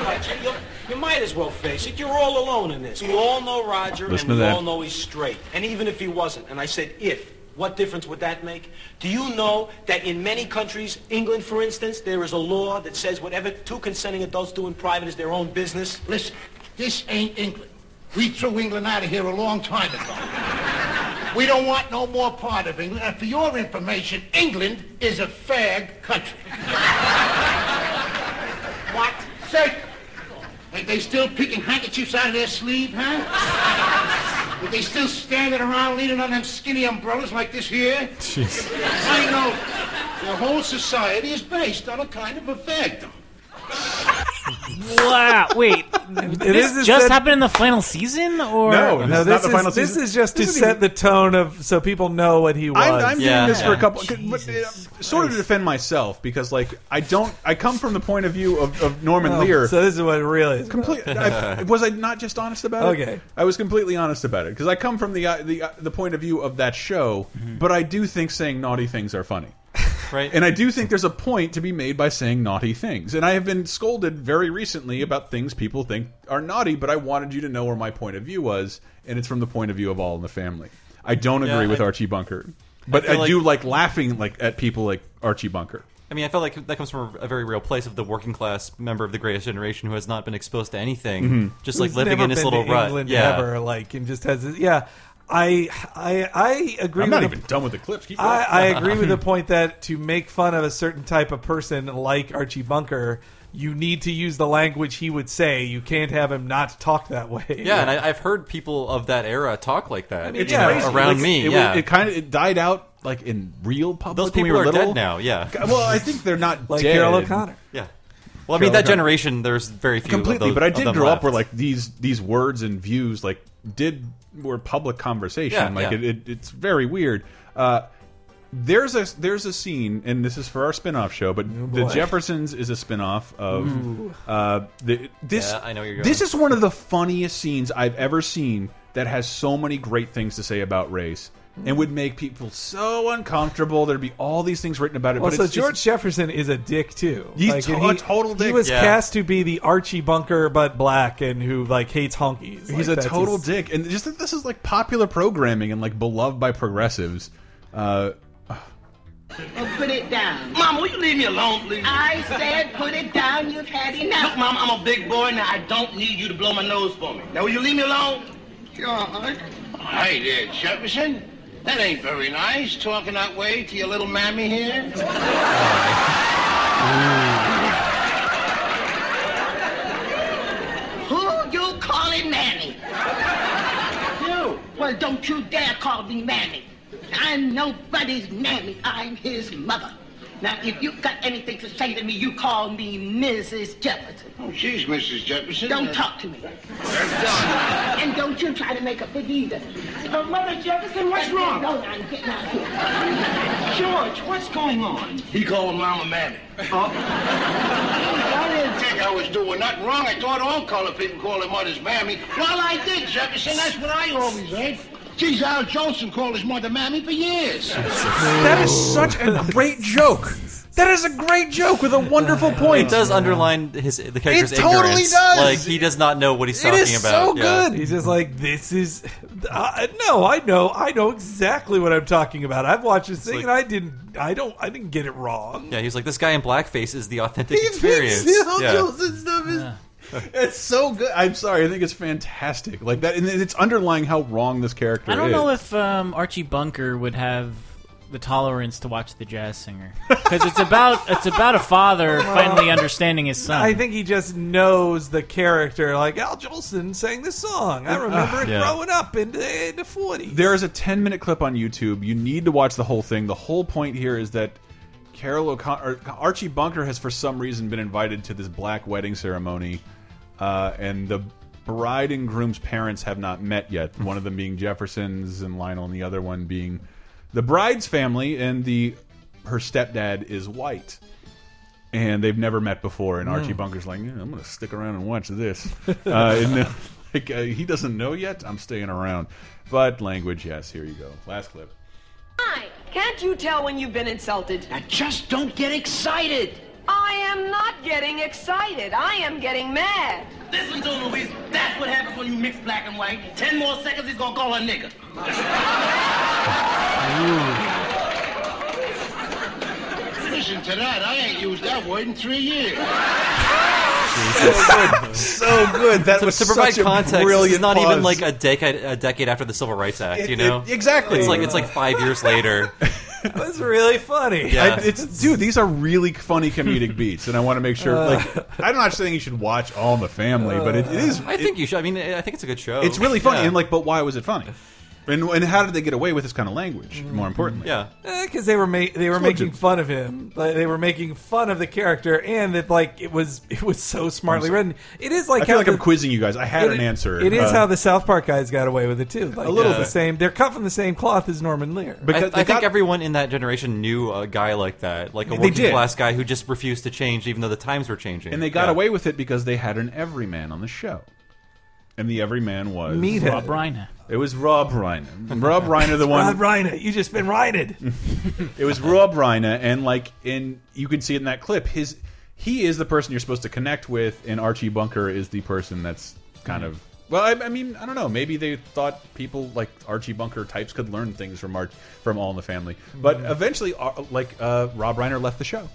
Archie, you, you might as well face it. You're all alone in this. We all know Roger Listen to and we that. all know he's straight. And even if he wasn't, and I said if, what difference would that make? Do you know that in many countries, England for instance, there is a law that says whatever two consenting adults do in private is their own business? Listen, this ain't England. We threw England out of here a long time ago. We don't want no more part of England. And for your information, England is a fag country. what? Say, ain't they still picking handkerchiefs out of their sleeve, huh? Are they still standing around leaning on them skinny umbrellas like this here? I know. Their whole society is based on a kind of a fagdom. Wow. Wait. this is a just set- happened in the final season, or No, No, this This is not the is final this season. is just This to isn't set even- the tone of so people know what he was. I'm, I'm doing Yeah. this for a Yeah. couple, but, uh, sort of to defend myself because like I don't. I come from the point of view of, of Norman Oh, Lear. So this is what it really is. Complete, I, was I not just honest about it? Okay. I was completely honest about it because I come from the uh, the uh, the point of view of that show, but I do think saying naughty things are funny, Right. and I do think there's a point to be made by saying naughty things. And I have been scolded very recently about things people think are naughty, but I wanted you to know where my point of view was, and it's from the point of view of All in the Family. I don't agree Yeah, with I- Archie Bunker, but feel I, like- do like laughing like at people like Archie Bunker. I mean, I felt like that comes from a very real place of the working class member of the greatest generation who has not been exposed to anything, Mm-hmm. just like Who's living never in this been little to rut. England yeah. ever, like and just has this, yeah. I I I agree. I'm not with the- even done with the clips. Keep I, going. I agree with the point that to make fun of a certain type of person like Archie Bunker, you need to use the language he would say. You can't have him not talk that way. Yeah, and I, I've heard people of that era talk like that mean, you know, yeah. crazy. around Like, me. It, yeah, it kind of it died out like in real public. those when people we were are little. dead now. Yeah, Well, I think they're not like dead. Carol O'Connor. yeah. Well, I mean, Sure, that okay. generation, there's very few of completely. those- but I of did them grow up left. where like these these words and views like did were public conversation. Yeah, like yeah. It, it, it's very weird. Uh, there's a there's a scene, and this is for our spin-off show. But the Oh, boy. Jeffersons is a spin-off of uh, the, this. Yeah, I know where you're This going. is one of the funniest scenes I've ever seen that has so many great things to say about race. And would make people so uncomfortable. There'd be all these things written about it. but Also, it's, George it's- Jefferson is a dick too. He's Like, to- and he, a total He dick. was Yeah. cast to be the Archie Bunker, but black and who like hates honkies. He's Like, a that's total his- dick, and just that this is like popular programming and like beloved by progressives. Uh, Put it down. Mom, will you leave me alone, please? I said put it down. You've had enough. Mom, I'm a big boy now. I don't need you to blow my nose for me. Now, will you leave me alone? George. Hi there, Jefferson. That ain't very nice, talking that way to your little mammy here. Who you calling Mammy? You. Well, don't me mammy. I'm nobody's mammy. I'm his mother. Now, if you got anything to say to me, you call me Mrs. Jefferson. Oh, she's Mrs. Jefferson. Don't Uh, talk to me. and don't you try to make a big either. Uh, Mother Jefferson, what's wrong? No, I'm getting out of here. George, what's going on? He called Mama Mammy. Oh. I didn't think I was doing nothing wrong. I thought all colored people called their mothers Mammy. Well, I did, Jefferson. That's what I always heard. Geez, Al Jolson called his mother Mammy for years. That is such a great joke. That is a great joke with a wonderful point. It does underline his the character's It totally ignorance. does. Like he does not know what he's It talking is about. so Yeah. good. He's just like, this is. Uh, no, I know, I know exactly what I'm talking about. I've watched this thing, and I didn't, I don't, I didn't get it wrong. Yeah, he was like, this guy in blackface is the authentic experience. yeah. stuff is. It's so good. I'm sorry. I think it's fantastic. Like that, and it's underlying how wrong this character I don't is. know if um, Archie Bunker would have the tolerance to watch the jazz singer because it's about it's about a father finally understanding his son. I think he just knows the character. Like Al Jolson sang this song. I Uh, remember it yeah. growing up in the, in the 40s. There is a 10 minute clip on YouTube. You need to watch the whole thing. The whole point here is that Carol O'Connor, Archie Bunker has for some reason been invited to this black wedding ceremony, uh, and the bride and groom's parents have not met yet. One of them being Jefferson's and Lionel, and the other one being the bride's family, and the her stepdad is white. And they've never met before, and Hmm. Archie Mm. Bunker's like, "Yeah, "I'm going to stick around and watch this." uh, and then, like, uh, he doesn't know yet. I'm staying around. But language, yes. Here you go. Last clip. Hi. Can't you tell when you've been insulted? I just don't get excited. I am not getting excited. I am getting mad. Listen to him, Louise. That's what happens when you mix black and white. Ten more seconds, he's gonna call her nigger. Listen to that. I ain't used that word in three years. so good. So good. That to, was to provide such a context. brilliant It's not pause. even like a decade a decade after the Civil Rights Act. It- you know it- exactly. It's like it's like five years later. That's really funny. Yeah. I- it's dude. These are really funny comedic beats, and I want to make sure. Uh. Like, I'm not saying you should watch All in the Family, but it, it is. I think you should. I mean, I think it's a good show. It's really funny. Uh. Yeah. And like, but why was it funny? And and how did they get away with this kind of language? More importantly, yeah. because eh, they were ma- they were It's making legit. fun of him. Like, they were making fun of the character, and that like it was it was so smartly I'm written. It is like I feel how like the- I'm quizzing you guys. I had it- an answer. It is Uh, how the South Park guys got away with it too. Like, A little it's the bit. same. They're cut from the same cloth as Norman Lear. I, I think everyone in that generation knew a guy like that, like a They working did. class guy who just refused to change, even though the times were changing. and they got Yeah. away with it because they had an everyman on the show, and the everyman was Meathead. Rob Reiner. It was Rob Reiner. Rob Reiner, the one. Rob Reiner, you just been righted. It was Rob Reiner, and like in you can see it in that clip, his he is the person you're supposed to connect with, and Archie Bunker is the person that's kind of well. I, I mean, I don't know. Maybe they thought people like Archie Bunker types could learn things from Arch, from All in the Family, but eventually, Ar- like uh, Rob Reiner left the show.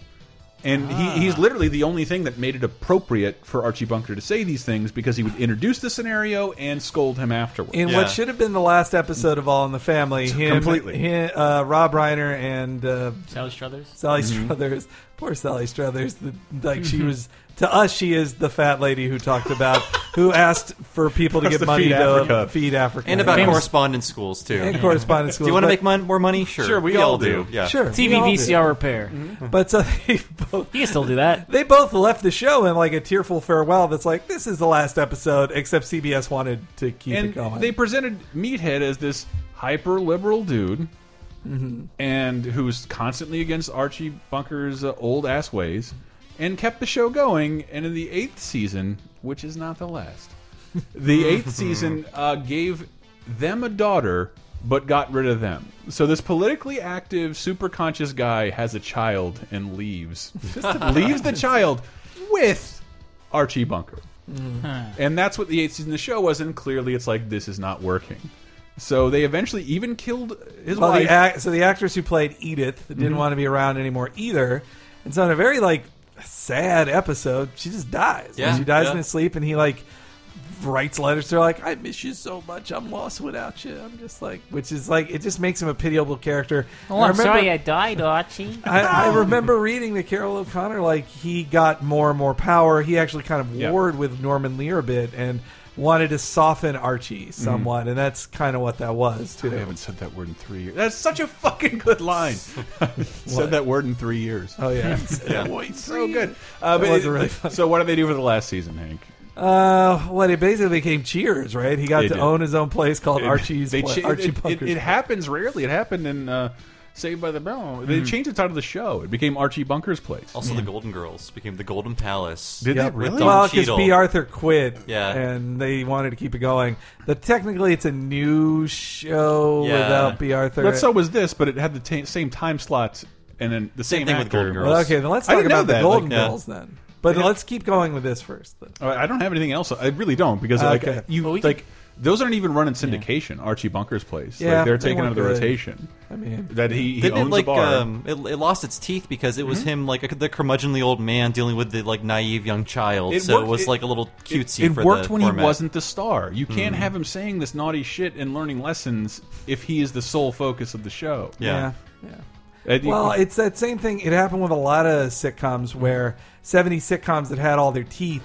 And he, he's literally the only thing that made it appropriate for Archie Bunker to say these things because he would introduce the scenario and scold him afterwards. In what should have been the last episode of All in the Family, him, Completely. him, uh, Rob Reiner and uh, Sally Struthers. Sally Mhm. Struthers, poor Sally Struthers. The, like she was to us, she is the fat lady who talked about who asked for people to That's get the money Feed to Africa. feed Africa And about Famous- correspondence schools, too. And correspondence schools. Do you want to but- make mon- more money? Sure. Yeah. Sure. we TV all do. VCR repair. mm-hmm. But so they both. You can still do that. They both left the show in like a tearful farewell. That's like this is the last episode, except CBS wanted to keep and it going. they presented Meathead as this hyper liberal dude, and who's constantly against Archie Bunker's uh, old ass ways, and kept the show going. And in the eighth season, which is not the last, the eighth season uh, gave them a daughter, but got rid of them. So this politically active, super conscious guy has a child and leaves, leaves the child with Archie Bunker. And that's what the eighth season of the show was, and clearly it's like this is not working. So they eventually even killed his Well, wife. The ac- so the actress who played Edith didn't Mm-hmm. Mhm. want to be around anymore either, and so in a very like sad episode, she just dies. Yeah, she dies yeah. in his sleep, and he like writes letters to her like, "I miss you so much. I'm lost without you." I'm just like, which is like it just makes him a pitiable character. Oh, And I I'm remember- sorry I died, Archie. I, I remember reading that Carol O'Connor, like he got more and more power. He actually kind of Yeah. warred with Norman Lear a bit, and wanted to soften Mm-hmm. Archie somewhat, and that's kind of what that was too. I haven't said that word in three years. That's such a fucking good line. Said that word in three years. Oh yeah, that voice so good. Uh, That but was it- really So what did they do for the last season, Hank? Uh, well, it basically became Cheers, right? He got They to did. own his own place called It- Archie's they Pla- cha- Archie it- it- Bunker's. It, happens rarely. It happened in uh, Saved by the Bell. They Mhm. changed the title of the show. It became Archie Bunker's place. Also, the Golden Girls became the Golden Palace. Did they With really? Don well, because Cheadle. B. Arthur quit, Yeah. and they wanted to keep it going. But technically, it's a new show without B. Arthur. But so was this, but it had the ta same time slots and then the same, Same thing with actor. Golden Girls. Well, okay, then let's I talk didn't know about the that, Golden like, uh, yeah. Girls then. But let's keep going with this first. Then. Uh, I don't have anything else. I really don't because like Okay. you Well, we like those aren't even running syndication. Archie Bunker's place. Yeah, like, they're they taken out weren't of the good. rotation. I mean- that he, he Didn't owns it, a like, bar. Um, it, it lost its teeth because it was Hmm? him, like a, the curmudgeonly old man dealing with the like naive young child. so it was like a little cutesy. It, it for worked the when format. he wasn't the star. You can't Mm. have him saying this naughty shit and learning lessons if he is the sole focus of the show. Yeah. Uh, you- Well, it's that same thing. It happened with a lot of sitcoms Mm-hmm. where 70 sitcoms that had all their teeth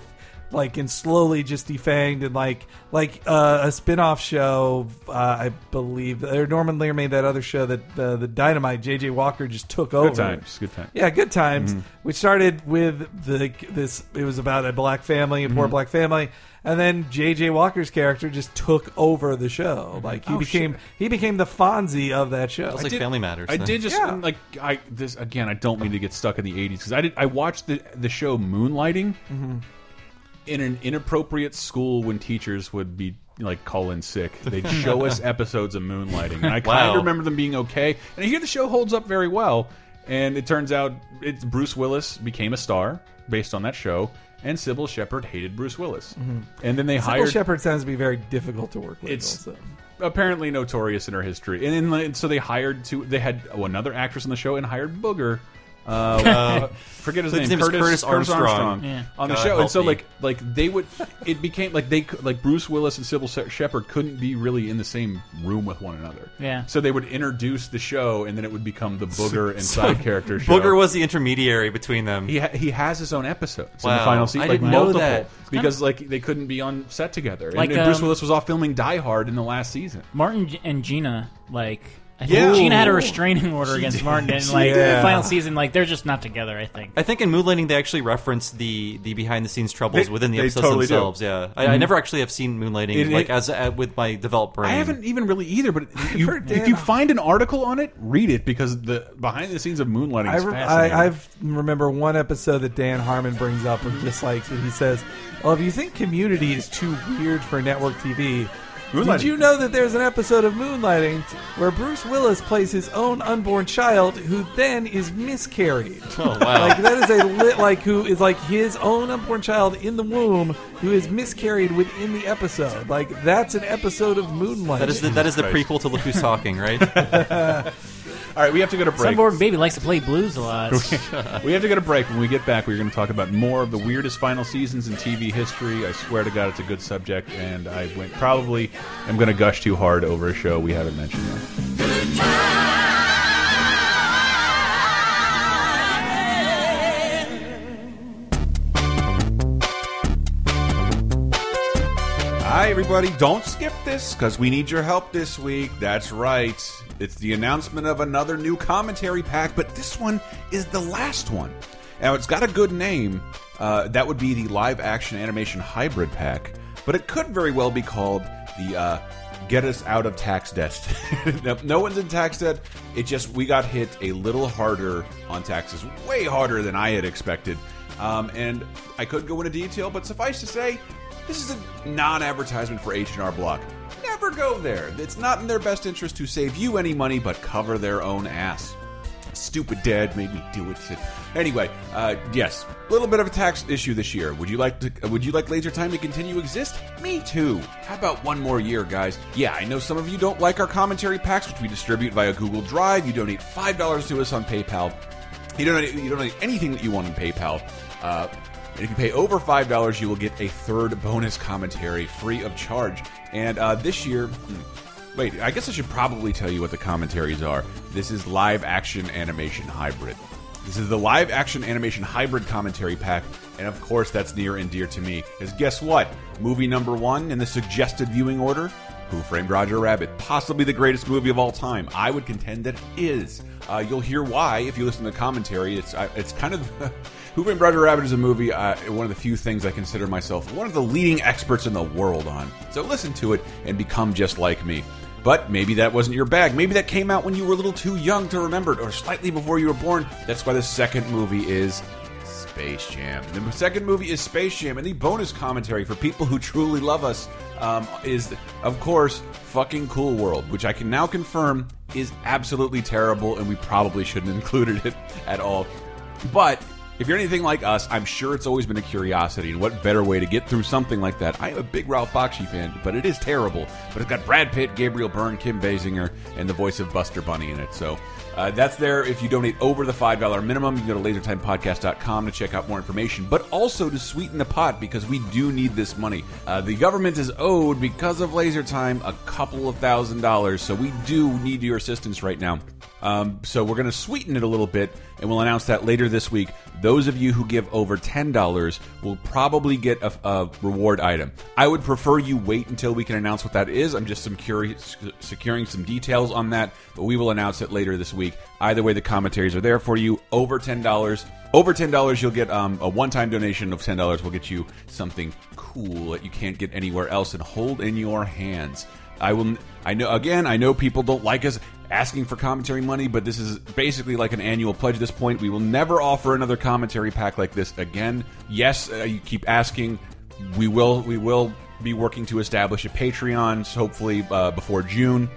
like and slowly just defanged and like like uh, a spin-off show uh, I believe or Norman Lear made that other show that uh, the Dynamite JJ Walker just took over. times, good times. Yeah, good times. Mhm. We started with the this it was about a black family, a poor Mhm. black family, and then JJ Walker's character just took over the show. Like he Oh, became he became the Fonzie of that show. I did- I did just Yeah. and, like I this again. I don't mean to get stuck in the '80s because I did. I watched the the show Moonlighting Mm-hmm. in an inappropriate school when teachers would be like call in sick. They'd show us episodes of Moonlighting, and I kind Wow. of remember them being okay. And I hear the show holds up very well. And it turns out it's Bruce Willis became a star based on that show, and Sybil Shepherd hated Bruce Willis, Mhm. and then they Sybil hired Shepherd sounds to be very difficult to work with. it's also. apparently notorious in her history, and, then like, so they hired two. They had oh, another actress on the show and hired Booger. Uh, uh, forget his, His name is Curtis Armstrong. Yeah. on the God show, and help so me. like like they would. It became like they cou- like Bruce Willis and Sybil She- Shepherd couldn't be really in the same room with one another. Yeah. So they would introduce the show, and then it would become the Booger and So- side character. Show. Booger was the intermediary between them. He ha he has his own episodes in Wow. the final season, I like didn't know multiple, that. because like they couldn't be on set together. Like, and, and Bruce um, Willis was off filming Die Hard in the last season. Martin G- and Gina, like. I think Yeah. Gina had a Ooh. restraining order She against did. Martin, and She like did. the final season, like they're just not together. I think. I think in Moonlighting they actually reference the the behind the scenes troubles They- within the they episodes totally do. themselves. Yeah, I, I Mhm. never actually have seen Moonlighting It- like it- as uh, with my developed brain. I haven't even really either, but you, if you find an article on it, read it because the behind the scenes of moonlighting I, is re- fascinating. I I've remember one episode that Dan Harmon brings up of just like he says, "Well, if you think Community is too weird for network TV." Moonlighting. Did you know that there's an episode of Moonlighting where Bruce Willis plays his own unborn child who then is miscarried? Oh, wow. like that is a lit like who is like his own unborn child in the womb who is miscarried within the episode. Like that's an episode of Moonlighting. That is the, that is the prequel to Look Who's Talking, right? All right, we have to go to break. Sunborn baby likes to play blues a lot. we have to go to break. When we get back, we're going to talk about more of the weirdest final seasons in TV history. I swear to God, it's a good subject, and I went probably am going to gush too hard over a show we haven't mentioned yet. Hi, everybody. Don't skip this because we need your help this week. That's right. It's the announcement of another new commentary pack, but this one is the last one. Now, it's got a good name. Uh, that would be the live action animation hybrid pack, but it could very well be called the uh, Get Us Out of Tax Debt. no, no one's in tax debt. It just, we got hit a little harder on taxes, way harder than I had expected. Um, and I could go into detail, but suffice to say, this is a non-advertisement for H&R Block. Never go there. It's not in their best interest to save you any money, but cover their own ass. Stupid dad made me do it. Anyway, uh, yes, a little bit of a tax issue this year. Would you like to? uh, Would you like Laser Time to continue to exist? Me too. How about one more year, guys? Yeah, I know some of you don't like our commentary packs, which we distribute via Google Drive. You donate five dollars to us on PayPal. You don't you don't need anything that you want in PayPal. Uh, and if you pay over five dollars, you will get a third bonus commentary free of charge. And uh, this year, hmm, wait, I guess I should probably tell you what the commentaries are. This is live action animation hybrid. This is the live action animation hybrid commentary pack, and of course, that's near and dear to me. Because guess what? Movie number one in the suggested viewing order Who Framed Roger Rabbit? Possibly the greatest movie of all time. I would contend that it is. Uh, you'll hear why if you listen to the commentary. It's, I it's kind of. Who Framed Roger Rabbit is a movie, uh, one of the few things I consider myself one of the leading experts in the world on. So listen to it and become just like me. But maybe that wasn't your bag. Maybe that came out when you were a little too young to remember it, or slightly before you were born. That's why the second movie is Space Jam. The second movie is Space Jam, and the bonus commentary for people who truly love us um, is, of course, fucking Cool World, which I can now confirm is absolutely terrible, and we probably shouldn't have included it at all. But if you're anything like us, I'm sure it's always been a curiosity, and what better way to get through something like that? I am a big Ralph Bakshi fan, but it is terrible. But it's got Brad Pitt, Gabriel Byrne, Kim Basinger, and the voice of Buster Bunny in it. So uh, that's there. If you donate over the $5 minimum, you can go to lasertimepodcast.com to check out more information, but also to sweeten the pot because we do need this money. Uh, the government is owed, because of Laser Time, a couple of thousand dollars, so we do need your assistance right now. Um, so we're going to sweeten it a little bit, and we'll announce that later this week. Those of you who give over ten dollars will probably get a, a reward item. I would prefer you wait until we can announce what that is. I'm just some curious, securing some details on that, but we will announce it later this week. Either way, the commentaries are there for you. Over ten dollars. Over ten dollars, you'll get um, a one-time donation of ten dollars. Will get you something cool that you can't get anywhere else, and hold in your hands. I will. I know. Again, I know people don't like us asking for commentary money, but this is basically like an annual pledge. At this point, we will never offer another commentary pack like this again. Yes, uh, you keep asking. We will. We will be working to establish a Patreon, so hopefully uh, before June.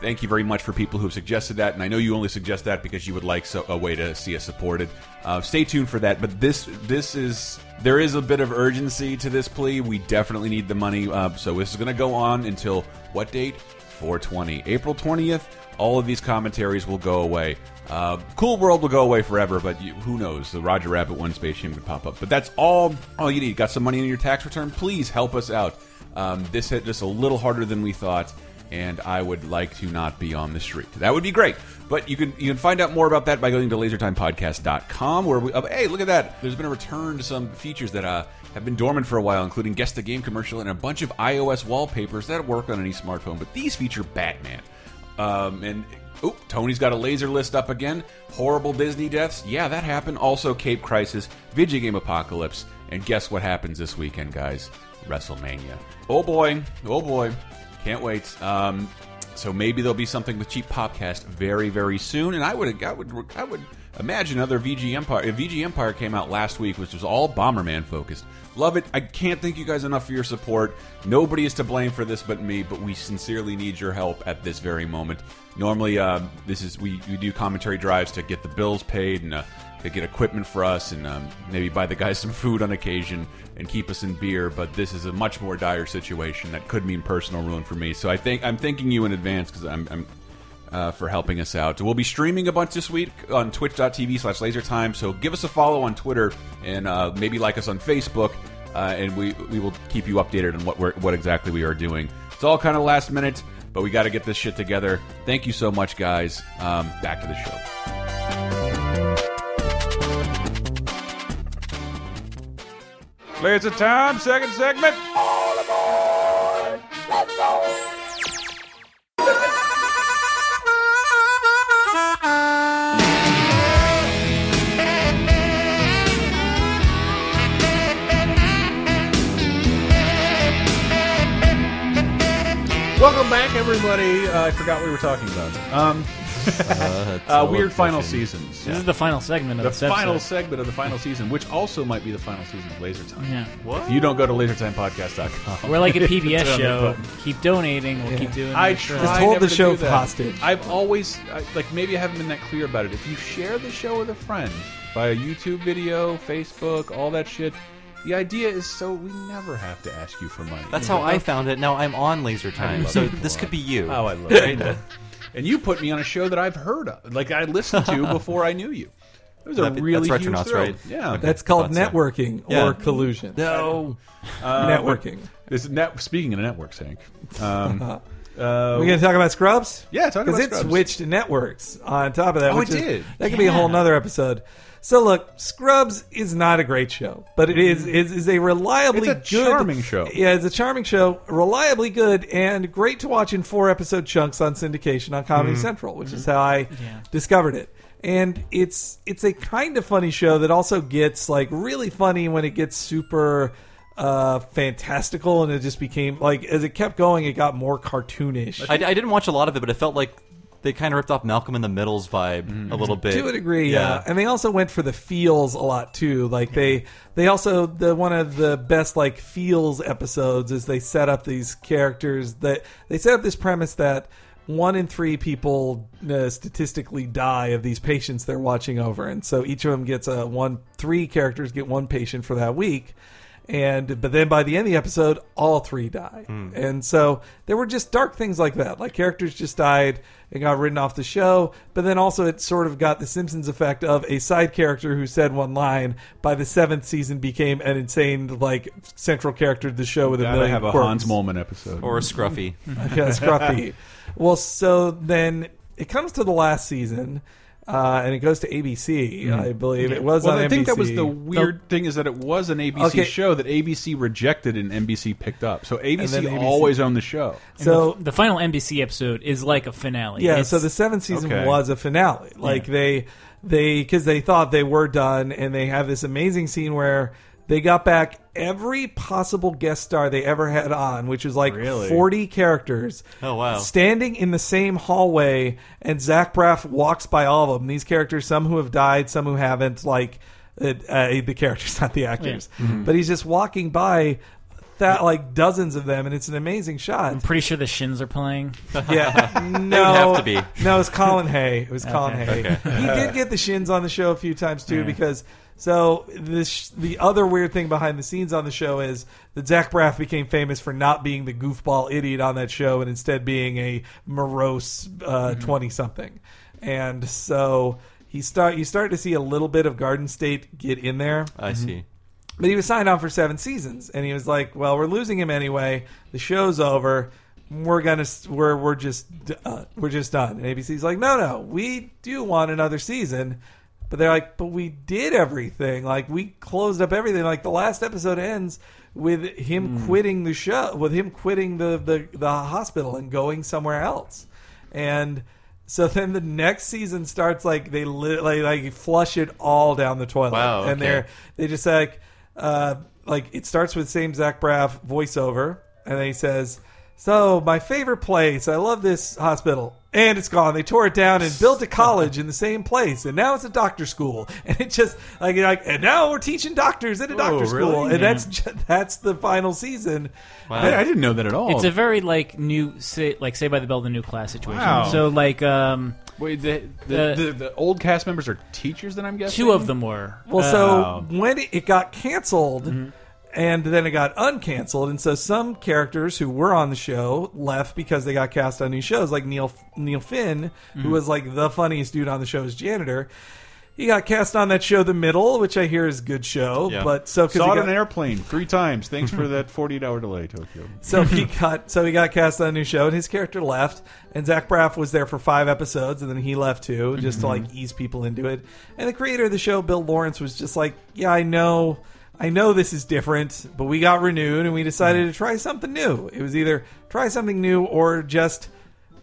Thank you very much for people who have suggested that, and I know you only suggest that because you would like so, a way to see us supported. Uh, stay tuned for that. But this this is there is a bit of urgency to this plea. We definitely need the money, uh, so this is going to go on until what date? 420, April 20th. All of these commentaries will go away. Uh, cool World will go away forever, but you, who knows? The Roger Rabbit one spaceship could pop up. But that's all all you need. Got some money in your tax return? Please help us out. Um, this hit us a little harder than we thought and I would like to not be on the street. That would be great. But you can you can find out more about that by going to lasertimepodcast.com where we uh, hey, look at that. There's been a return to some features that uh, have been dormant for a while, including guess the game commercial and a bunch of iOS wallpapers that work on any smartphone, but these feature Batman. Um, and oop, Tony's got a laser list up again. Horrible Disney deaths. Yeah, that happened. Also Cape Crisis, Video Game Apocalypse, and guess what happens this weekend, guys? WrestleMania. Oh boy. Oh boy. Can't wait. Um, so maybe there'll be something with Cheap Popcast very, very soon. And I would, I would, I would imagine other VG Empire. If VG Empire came out last week, which was all Bomberman focused, love it. I can't thank you guys enough for your support. Nobody is to blame for this but me. But we sincerely need your help at this very moment. Normally, uh, this is we, we do commentary drives to get the bills paid and. Uh, to get equipment for us and um, maybe buy the guys some food on occasion and keep us in beer. But this is a much more dire situation that could mean personal ruin for me. So I think I'm thanking you in advance because I'm. I'm uh, for helping us out. We'll be streaming a bunch this week on twitch.tv slash lasertime, so give us a follow on Twitter and uh, maybe like us on Facebook, uh, and we we will keep you updated on what we're, what exactly we are doing. It's all kind of last minute, but we got to get this shit together. Thank you so much, guys. Um, back to the show. Laser time, second segment. Welcome back, everybody. Uh, I forgot what we were talking about. Um, uh, weird final seasons. This is the final segment of the this episode. final segment of the final season, which also might be the final season of Laser Time. Yeah. What? If you don't go to lasertimepodcast.com, We're like a PBS Turn on that show. button. Keep donating. We'll keep doing. I this show. try never to do that. I've always I, like maybe I haven't been that clear about it. If you share the show with a friend via YouTube video, Facebook, all that shit, the idea is so we never have to ask you for money. That's how I found it. Now I'm on Laser Time, love so it. this could be you. Oh, I love it. and you put me on a show that I've heard of, like I listened to before I knew you. It was a That'd be- really that's huge Retronauts, thrill. right? Yeah, Okay. That's called Thought so. networking Yeah. or collusion. No, Networking. This net, speaking of networks, Hank. Um, uh, Oh. Are we going to talk about Scrubs? Yeah, talk about Because it Scrubs. switched networks on top of that. Oh, which it is- did. That could be a whole Yeah. nother episode. So look, Scrubs is not a great show, but it is is, is a reliably It's a good charming show. Yeah, it's a charming show, reliably good and great to watch in four episode chunks on syndication on Comedy Mhm. Central, which is Mhm. how I discovered it. And it's it's a kind of funny show that also gets like really funny when it gets super uh fantastical and it just became like as it kept going it got more cartoonish I, I didn't watch a lot of it, but it felt like they kind of ripped off Malcolm in the Middle's vibe a little bit. To a degree, yeah. And they also went for the feels a lot too. Like they they also the one of the best like feels episodes is they set up these characters that they set up this premise that one in three people uh, statistically die of these patients they're watching over, and so each of them gets a one three characters get one patient for that week. And but then by the end of the episode, all three die. Hmm. And so there were just dark things like that. Like characters just died and got written off the show. But then also it sort of got the Simpsons effect of a side character who said one line by the seventh season became an insane like central character to the show with a Gotta million have a quirks. Hans Moleman episode. Or a Scruffy. yeah, Scruffy. Well, so then it comes to the last season. Uh, and it goes to ABC, I believe. It was Hmm. Well, on I think that was NBC. the weird thing is that it was an ABC Okay. show that ABC rejected and NBC picked up. So ABC, then ABC. always owned the show. So the, the final NBC episode is like a finale. Yeah, It's- so the seventh season Okay. was a finale. Like they they because they thought they were done, and they have this amazing scene where they got back every possible guest star they ever had on, which was like forty characters. Oh, wow. Standing in the same hallway, and Zach Braff walks by all of them. These characters, some who have died, some who haven't. Like uh, uh, the characters, not the actors, Yeah. Mhm. but he's just walking by. That like dozens of them, and it's an amazing shot. I'm pretty sure the Shins are playing. Yeah, They would no, have to be. No, it was Colin Hay. It was Okay. Colin Hay. Okay. He did get the shins on the show a few times too Yeah. because. So this the other weird thing behind the scenes on the show is that Zach Braff became famous for not being the goofball idiot on that show and instead being a morose Mm-hmm. twenty something, and so he start you start to see a little bit of Garden State get in there. I see. But he was signed on for seven seasons, and he was like, "Well, we're losing him anyway. The show's over. We're gonna we're we're just uh, we're just done." And ABC's like, "No, no, we do want another season." But they're like, "But we did everything. Like we closed up everything. Like the last episode ends with him quitting the show, with him quitting the the, the hospital and going somewhere else." and so then the next season starts like they li- like, like flush it all down the toilet Wow, and okay. they're they just like uh like it starts with same zach braff voiceover and then he says so my favorite place i love this hospital and it's gone they tore it down and built a college in the same place and now it's a doctor school and it just like you're like and now we're teaching doctors Oh, at a doctor really? school Yeah. and that's that's ju- that's the final season I, I didn't know that at all. It's a very like new, say, like say by the bell, the new class situation. Wow. So like, um, Wait, the, the, the- the, the old cast members are teachers. Then I'm guessing uh, Two of them were. Well, Wow. so when it got canceled, mm-hmm. and then it got uncanceled, and so some characters who were on the show left because they got cast on new shows, like Neil Neil Finn, who Mhm. was like the funniest dude on the show as janitor. He got cast on that show, The Middle, which I hear is a good show, Yeah. but so because saw it on an airplane three times. Thanks for that 48 hour delay, Tokyo. so he got so he got cast on a new show, and his character left. And Zach Braff was there for five episodes, and then he left too, just to Mm-hmm. like ease people into it. And the creator of the show, Bill Lawrence, was just like, "Yeah, I know, I know this is different, but we got renewed, and we decided to try something new. It was either try something new or just."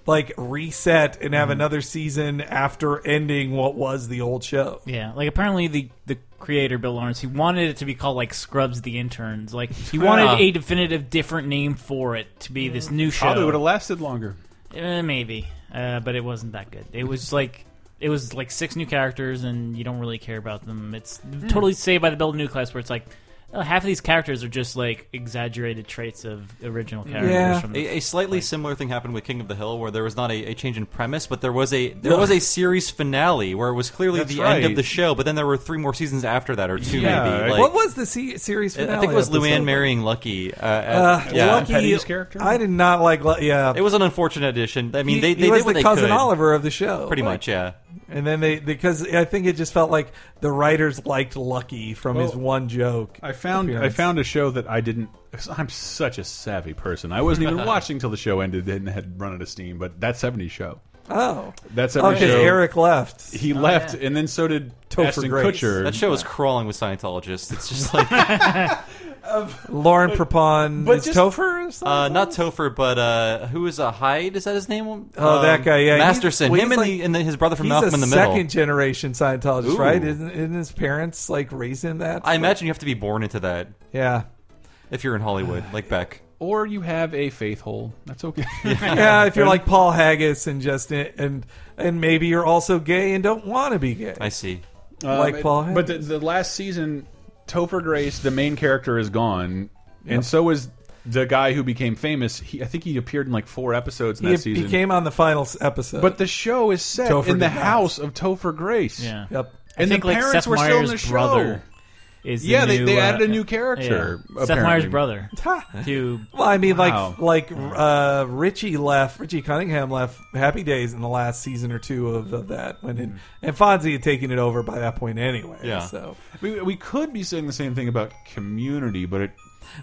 Like reset and Mm-hmm. have another season after ending what was the old show. Yeah, like apparently the the creator Bill Lawrence he wanted it to be called like Scrubs the Interns. Like he wanted Ah. a definitive different name for it to be this new show. Probably would have lasted longer. Eh, maybe, uh, but it wasn't that good. It was like it was like six new characters, and you don't really care about them. It's Hmm. totally Saved by the Bell new class, where it's like oh, half of these characters are just like exaggerated traits of original characters. From the, a, a slightly similar thing happened with King of the Hill, where there was not a, a change in premise, but there was a there was a series finale where it was clearly That's the end right. of the show, but then there were three more seasons after that, or two maybe. Like, what was the se- series I finale? think it was episode? Luann marrying Lucky. Uh, Uh, at- yeah. Lucky- I did not like. Lu- Yeah, It was an unfortunate addition. I mean, He- they, he they was did what the they cousin could. Oliver of the show. Pretty Like- much, yeah. And then they because I think it just felt like the writers liked Lucky from his Well, one joke. I found I found a show that I didn't. 'cause I'm such a savvy person. I wasn't even watching till the show ended and had run out of steam. But that 70s show. Oh, That's every show. Eric left. He left, and then so did Topher Ashton Grace. Kutcher. That show is crawling with Scientologists. It's just like Lauren Prepon But is just- Topher. Is that- uh, not Topher, but uh, who is a Hyde? Is that his name? Um, Oh, that guy, yeah, He's- Masterson. well, Him he's and, like- the, and then his brother from he's Malcolm a in the Middle. Second generation Scientologist, Ooh. right? Isn't, isn't his parents like raised in that? I imagine you have to be born into that. Yeah. If you're in Hollywood, like Beck. Or you have a faith hole. That's okay. yeah, if you're like Paul Haggis and just and and maybe you're also gay and don't want to be gay. I see. like Paul Haggis. Uh, Um, But the, the last season, Topher Grace, the main character, is gone, and so is the guy who became famous. He, I think he appeared in like four episodes in he, that season. he came on the final s- episode. but the show is set Topher in the did not. house of Topher Grace. Yeah. Yep. And I think, the like, parents Seth were still in Meyers' the show. brother is the yeah, they, new, they uh, added a new yeah. character. Yeah. Seth apparently. Meyers' brother. to well, I mean, Wow. like like uh, Richie left, Richie Cunningham left Happy Days in the last season or two of, of that when it, Mm-hmm. and Fonzie had taken it over by that point anyway. So we, we could be saying the same thing about Community, but it.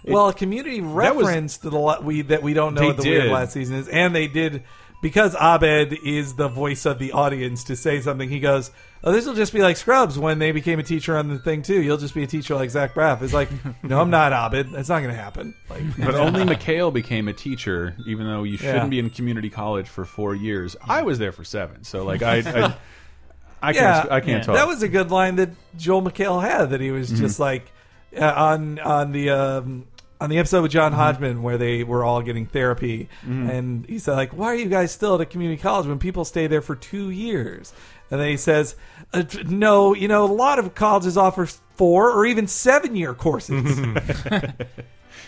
it- well, a community that was- reference to the la- we that we don't know They what the weird did. last season is, and they did because Abed is the voice of the audience to say something. He goes, "Oh, this will just be like Scrubs when they became a teacher on the thing too. You'll just be a teacher like Zach Braff." It's like, no, I'm not Abed. That's not going to happen. Like, but only Mikhail became a teacher, even though you shouldn't Yeah. be in community college for four years. I was there for seven, so like I, I, I yeah, can't, I can't talk. That was a good line that Joel McHale had. That he was just Mhm. like uh, on on the um, on the episode with Mm-hmm. John Hodgman where they were all getting therapy, Mhm. and he said like, "Why are you guys still at a community college when people stay there for two years?" And then he says, uh, t- "No, you know, a lot of colleges offer four or even seven year courses."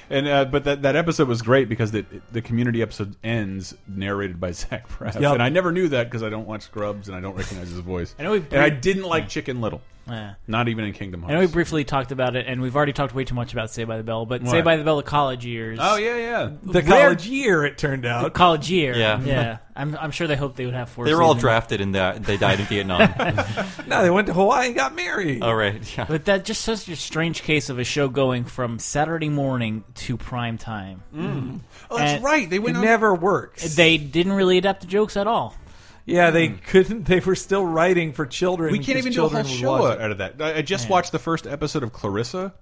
and uh, but that, that episode was great because the the community episode ends narrated by Zach Braff, Yep. and I never knew that because I don't watch Scrubs and I don't recognize his voice. I know we and I bring- didn't like Chicken Little, Yeah. not even in Kingdom I Hearts. know we briefly talked about it, and we've already talked way too much about Say by the Bell, but What? Say by the Bell, the college years. Oh, yeah, yeah. The college year, it turned out. The college year. Yeah. yeah. I'm, I'm sure they hoped they would have four. They were all seasons. drafted and they, they died in Vietnam. no, they went to Hawaii and got married. All right. Yeah. But that just such a strange case of a show going from Saturday morning to prime time. Mm. Oh, that's right. They went It on- never Mm. works. They didn't really adapt the jokes at all. Yeah, they couldn't. They were still writing for children. we can't because even do a whole children would show watch out of that. I, I just watched the first episode of Clarissa.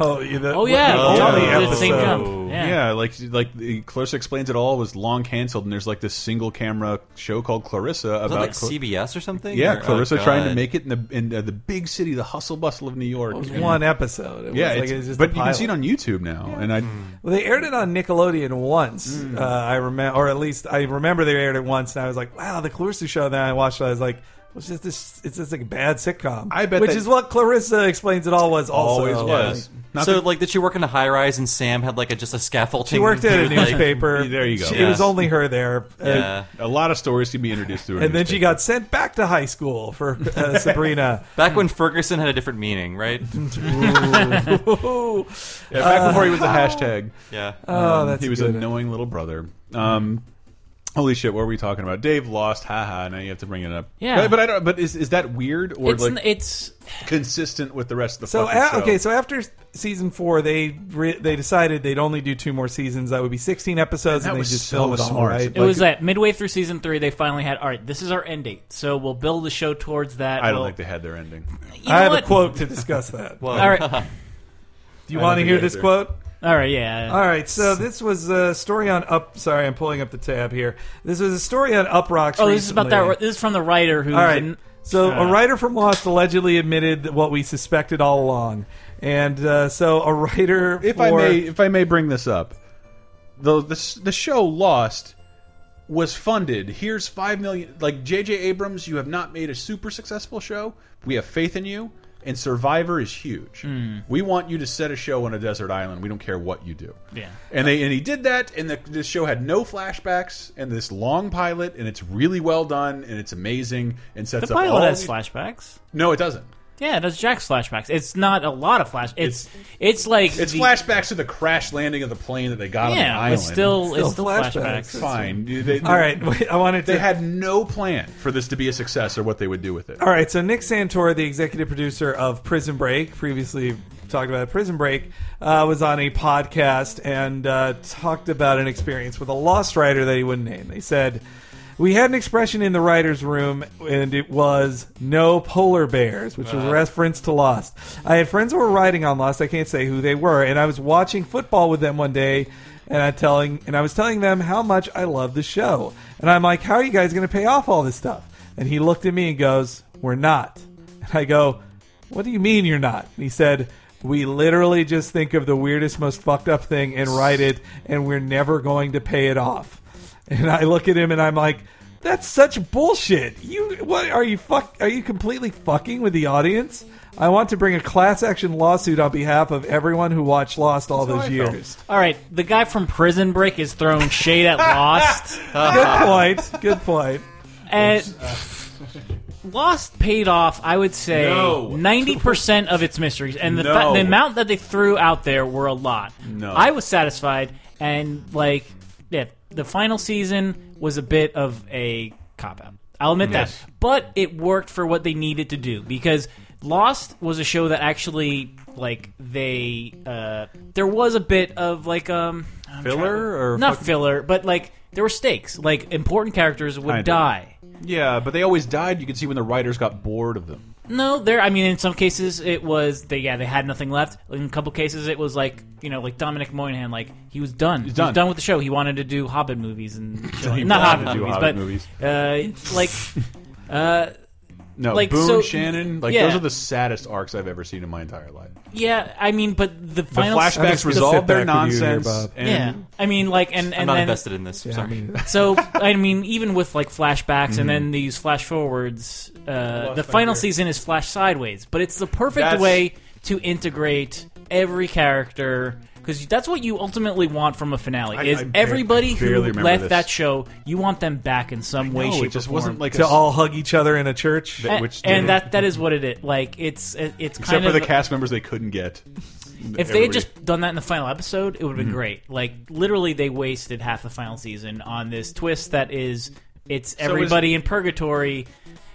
Oh, yeah, the, Oh, yeah, Oh, yeah. the Yeah. Did the same episode. jump. Yeah. Yeah. like like the, Clarissa explains it all was long canceled, and there's like this single camera show called Clarissa Was that about like Cla- CBS or something? Yeah, Or- oh, Clarissa trying to God. make it in the in uh, the big city, the hustle bustle of New York. was And- one episode. It was yeah, like- it's- it was just but a you can see it pilot. on YouTube now, and I Well, they aired it on Nickelodeon once. Hmm. Uh, I remember, or at least I remember they aired it once, and I was like, "Wow, the Clarissa show." Then I watched it. I was like, "It's just this. It's just like a bad sitcom." I bet which that- is what Clarissa explains it all was. Also, Always was. Not so, that- like, did she work in a high rise and Sam had, like, a, just a scaffolding? She worked at a He would, like- newspaper. there you go. It was only her there. Yeah. a lot of stories can be introduced through. And, then she got sent back to high school for uh, Sabrina. Back when Ferguson had a different meaning, right? Ooh. Yeah, back before he was a hashtag. Yeah. Oh, Um, that's he was good. a knowing little brother. Um, holy shit, what were we talking about? Dave lost. Haha. Now you have to bring it up. Yeah. but, but I don't. But is is that weird or It's like n- it's consistent with the rest of the So fucking a- show? okay, so after season four, they re- they decided they'd only do two more seasons. That would be sixteen episodes, Man, that and, was they just so film it all, smart. right? It was that midway through season three, they finally had, all right, this is our end date. So we'll build the show towards that. I don't We'll- think they had their ending. You know I have what? a quote to discuss that. Whoa. All right. do you I want to don't hear think this either. quote? All right, yeah. All right, so this was a story on up. Sorry, I'm pulling up the tab here. This was a story on Up Rocks. Oh, this is about recently. that. This is from the writer who. All right. So uh, a writer from Lost allegedly admitted that what we suspected all along, and uh, so a writer. if I may, if I may bring this up, the the, the show Lost was funded. Here's five million. Like J.J. Abrams, you have not made a super successful show. We have faith in you. And Survivor is huge. Hmm. We want you to set a show on a desert island. We don't care what you do. Yeah. And they and he did that, and the, this show had no flashbacks, and this long pilot, and it's really well done, and it's amazing, and sets The up all pilot has these- flashbacks. No, it doesn't. Yeah, it does Jack's flashbacks. It's not a lot of flash. It's it's, like It's the- flashbacks to the crash landing of the plane that they got on the Yeah, island. it's still- it's Still still flashbacks. flashbacks. Fine. They- All right, wait, I wanted They to- had no plan for this to be a success or what they would do with it. All right, so Nick Santor, the executive producer of Prison Break, previously talked about Prison Break, uh, was on a podcast and uh, talked about an experience with a lost writer that he wouldn't name. They said, We had an expression in the writers' room, and it was "no polar bears," which was a Uh. reference to Lost. I had friends who were writing on Lost. I can't say who they were, and I was watching football with them one day, and I telling and I was telling them how much I love the show, and I'm like, "How are you guys going to pay off all this stuff?" And he looked at me and goes, "We're not." And I go, "What do you mean you're not?" And he said. We literally just think of the weirdest, most fucked up thing and write it, and we're never going to pay it off. And I look at him and I'm like, that's such bullshit. You what are you fuck are you completely fucking with the audience? I want to bring a class action lawsuit on behalf of everyone who watched Lost all those years. All right, the guy from Prison Break is throwing shade at Lost. Good point. Good point. And Lost paid off, I would say, No. ninety percent of its mysteries, and the, fa- No. the amount that they threw out there were a lot. No. I was satisfied, and like, yeah, the final season was a bit of a cop out. I'll admit Yes. that, but it worked for what they needed to do because Lost was a show that actually, like, they uh, there was a bit of like um I'm Filler trying to- or not fucking- filler, but like there were stakes, like important characters would Kinda. die. Yeah, but they always died. You could see when the writers got bored of them. No, there. I mean, in some cases, it was they. Yeah, they had nothing left. In a couple cases, it was like you know, like Dominic Moynihan, like he was done. He was done. with the show. He wanted to do Hobbit movies and He wanted not Hobbit to do movies, Hobbit but movies. Uh, like, uh, No, like Boone, so, Shannon, like yeah, those are the saddest arcs I've ever seen in my entire life. yeah. I mean, but the final flashbacks Just resolved sit their back with you here, nonsense, Bob. and- yeah, I mean, like, and, and I'm not then- invested in this. sorry. so I mean, even with like flashbacks Mm-hmm. Mhm. and then these flash forwards, uh, Lost the my final grip. season is flash sideways, but it's the perfect That's- way to integrate every character because that's what you ultimately want from a finale. I- is I bar- everybody who barely remember left this. that show, you want them back in some way, know, shape, it just or form. wasn't like to all hug each other in a church. and, and that that is what it is. Like it's it, it's Except kind for of the cast members they couldn't get. if they had Everybody- just done that in the final episode, it would have Mhm. been great. Like literally, they wasted half the final season on this twist that is it's So is- everybody in purgatory,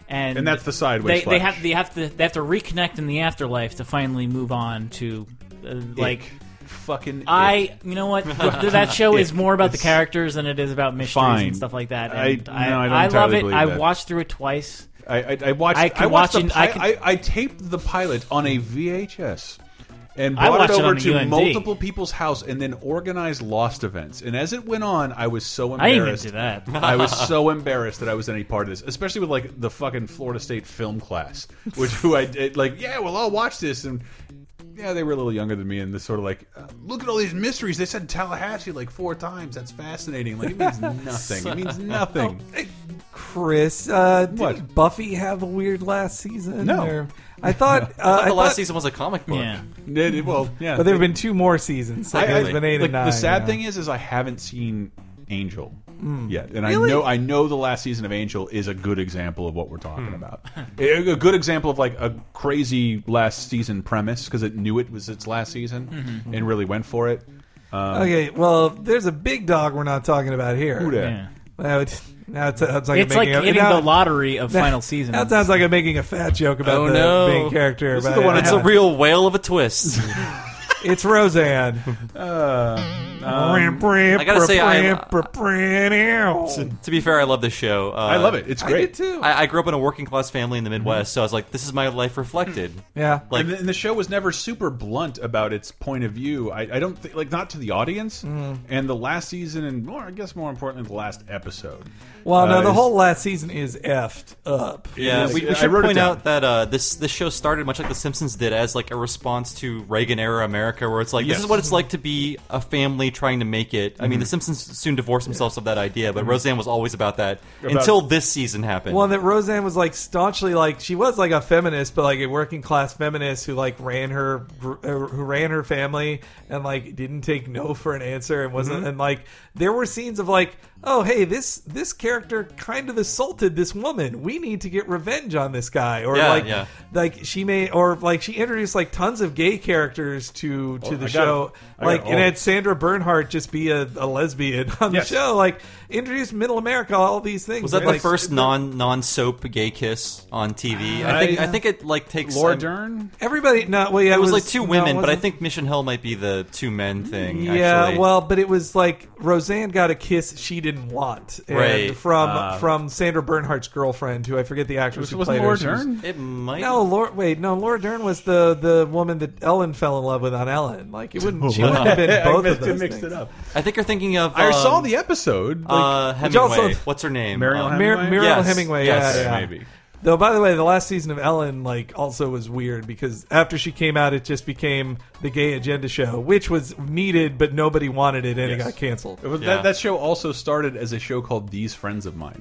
and And that's the sideways They, they flash. have they have to they have to reconnect in the afterlife to finally move on to uh, like. Fucking, I you know what Th- that show is Ick. more about the It's- characters than it is about mysteries Fine. and stuff like that. I- And I no, I don't I, love entirely it. believe I that. watched through it twice. I, I, I watched. I I, can watched. watch the, an- I I, can- I, I taped the pilot on a VHS and I brought watched it it over on to UMD. multiple people's house and then organized lost events. And as it went on, I was so I didn't even embarrassed. do that. I was so embarrassed that I was any part of this, especially with like the fucking Florida State film class, which who I did like. Yeah, well, I'll watch this and. Yeah, they were a little younger than me, and this sort of like, uh, look at all these mysteries. They said Tallahassee like four times. That's fascinating. Like it means nothing. It means nothing. Chris, uh, did Buffy have a weird last season? No. Or- I thought, uh, I thought the I last thought- season was a comic book. Yeah. It- it- well, yeah. But there have been two more seasons. Like, I- I- there's been eight like, and nine. The sad yeah. thing is, is I haven't seen Angel Mm. yet, and Really? I know I know the last season of Angel is a good example of what we're talking Hmm. about. a, a good example of like a crazy last season premise because it knew it was its last season Mhm. and really went for it. Um, Okay, well, there's a big dog we're not talking about here. Who dat? Yeah. Now it's, now it sounds like It's I'm making like a, hitting now- the lottery of now- final season. That sounds like I'm making a fat joke about Oh, the no. main character. This is but the one- I- it's a real whale of a twist. It's Roseanne. I gotta say, I, I- to be fair, I love this show. Uh, I love it. It's I great. did too. I, I grew up in a working class family in the Midwest, so I was like, this is my life reflected. Yeah, Like, and, the, and the show was never super blunt about its point of view. I, I don't think, like, not to the audience. Hmm. And the last season, and more, I guess, more importantly, the last episode. well, no, uh, the is- whole last season is effed up. yeah, is- we, I we should wrote it point down. out that uh, this this show started much like The Simpsons did, as like a response to Reagan era America, where it's like Yes. this is what it's like to be a family trying to make it. I mean, Mhm. The Simpsons soon divorced themselves of that idea, but Mhm. Roseanne was always about that About- until this season happened. Well, and that Roseanne was like staunchly like she was like a feminist, but like a working class feminist who like ran her gr- uh, who ran her family and like didn't take no for an answer and wasn't Mm-hmm. Mhm. and like there were scenes of like oh hey this this character kind of assaulted this woman we need to get revenge on this guy or Yeah, like yeah. like she may or like she introduced like tons of gay characters to to to Oh, the I got show, it. I got like it and all. had Sandra Bernhardt just be a, a lesbian on Yes. the show, like introduce Middle America, all these things. Was that and, the like, first non non soap gay kiss on TV? I think I think it like takes Laura I'm- Dern? Everybody, no, well, yeah, it was, it was- like two no, it women, but I wasn't. think Mission Hell might be the two men thing. Yeah, actually. well, but it was like Roseanne got a kiss she didn't want, and Right. From Ah. from Sandra Bernhardt's girlfriend, who I forget the actress Was- who wasn't played Laura her. She was- Dern? It might- No, Laura. Wait, no, Laura Dern was the the woman that Ellen fell in love with on Ellen. Like it wouldn't. She wouldn't have been I both of mixed- those. mixed things. it up. I think you're thinking of. I um, saw the episode. uh, like- Hemingway. What's her name? Mariel Uh, Mir- Hemingway. Muriel Yes, Hemingway. yes, yeah, yeah. maybe. Though, by the way, the last season of Ellen like also was weird because after she came out, it just became the gay agenda show, which was needed, but nobody wanted it, and it Yes. got canceled. It was- that, that show also started as a show called These Friends of Mine.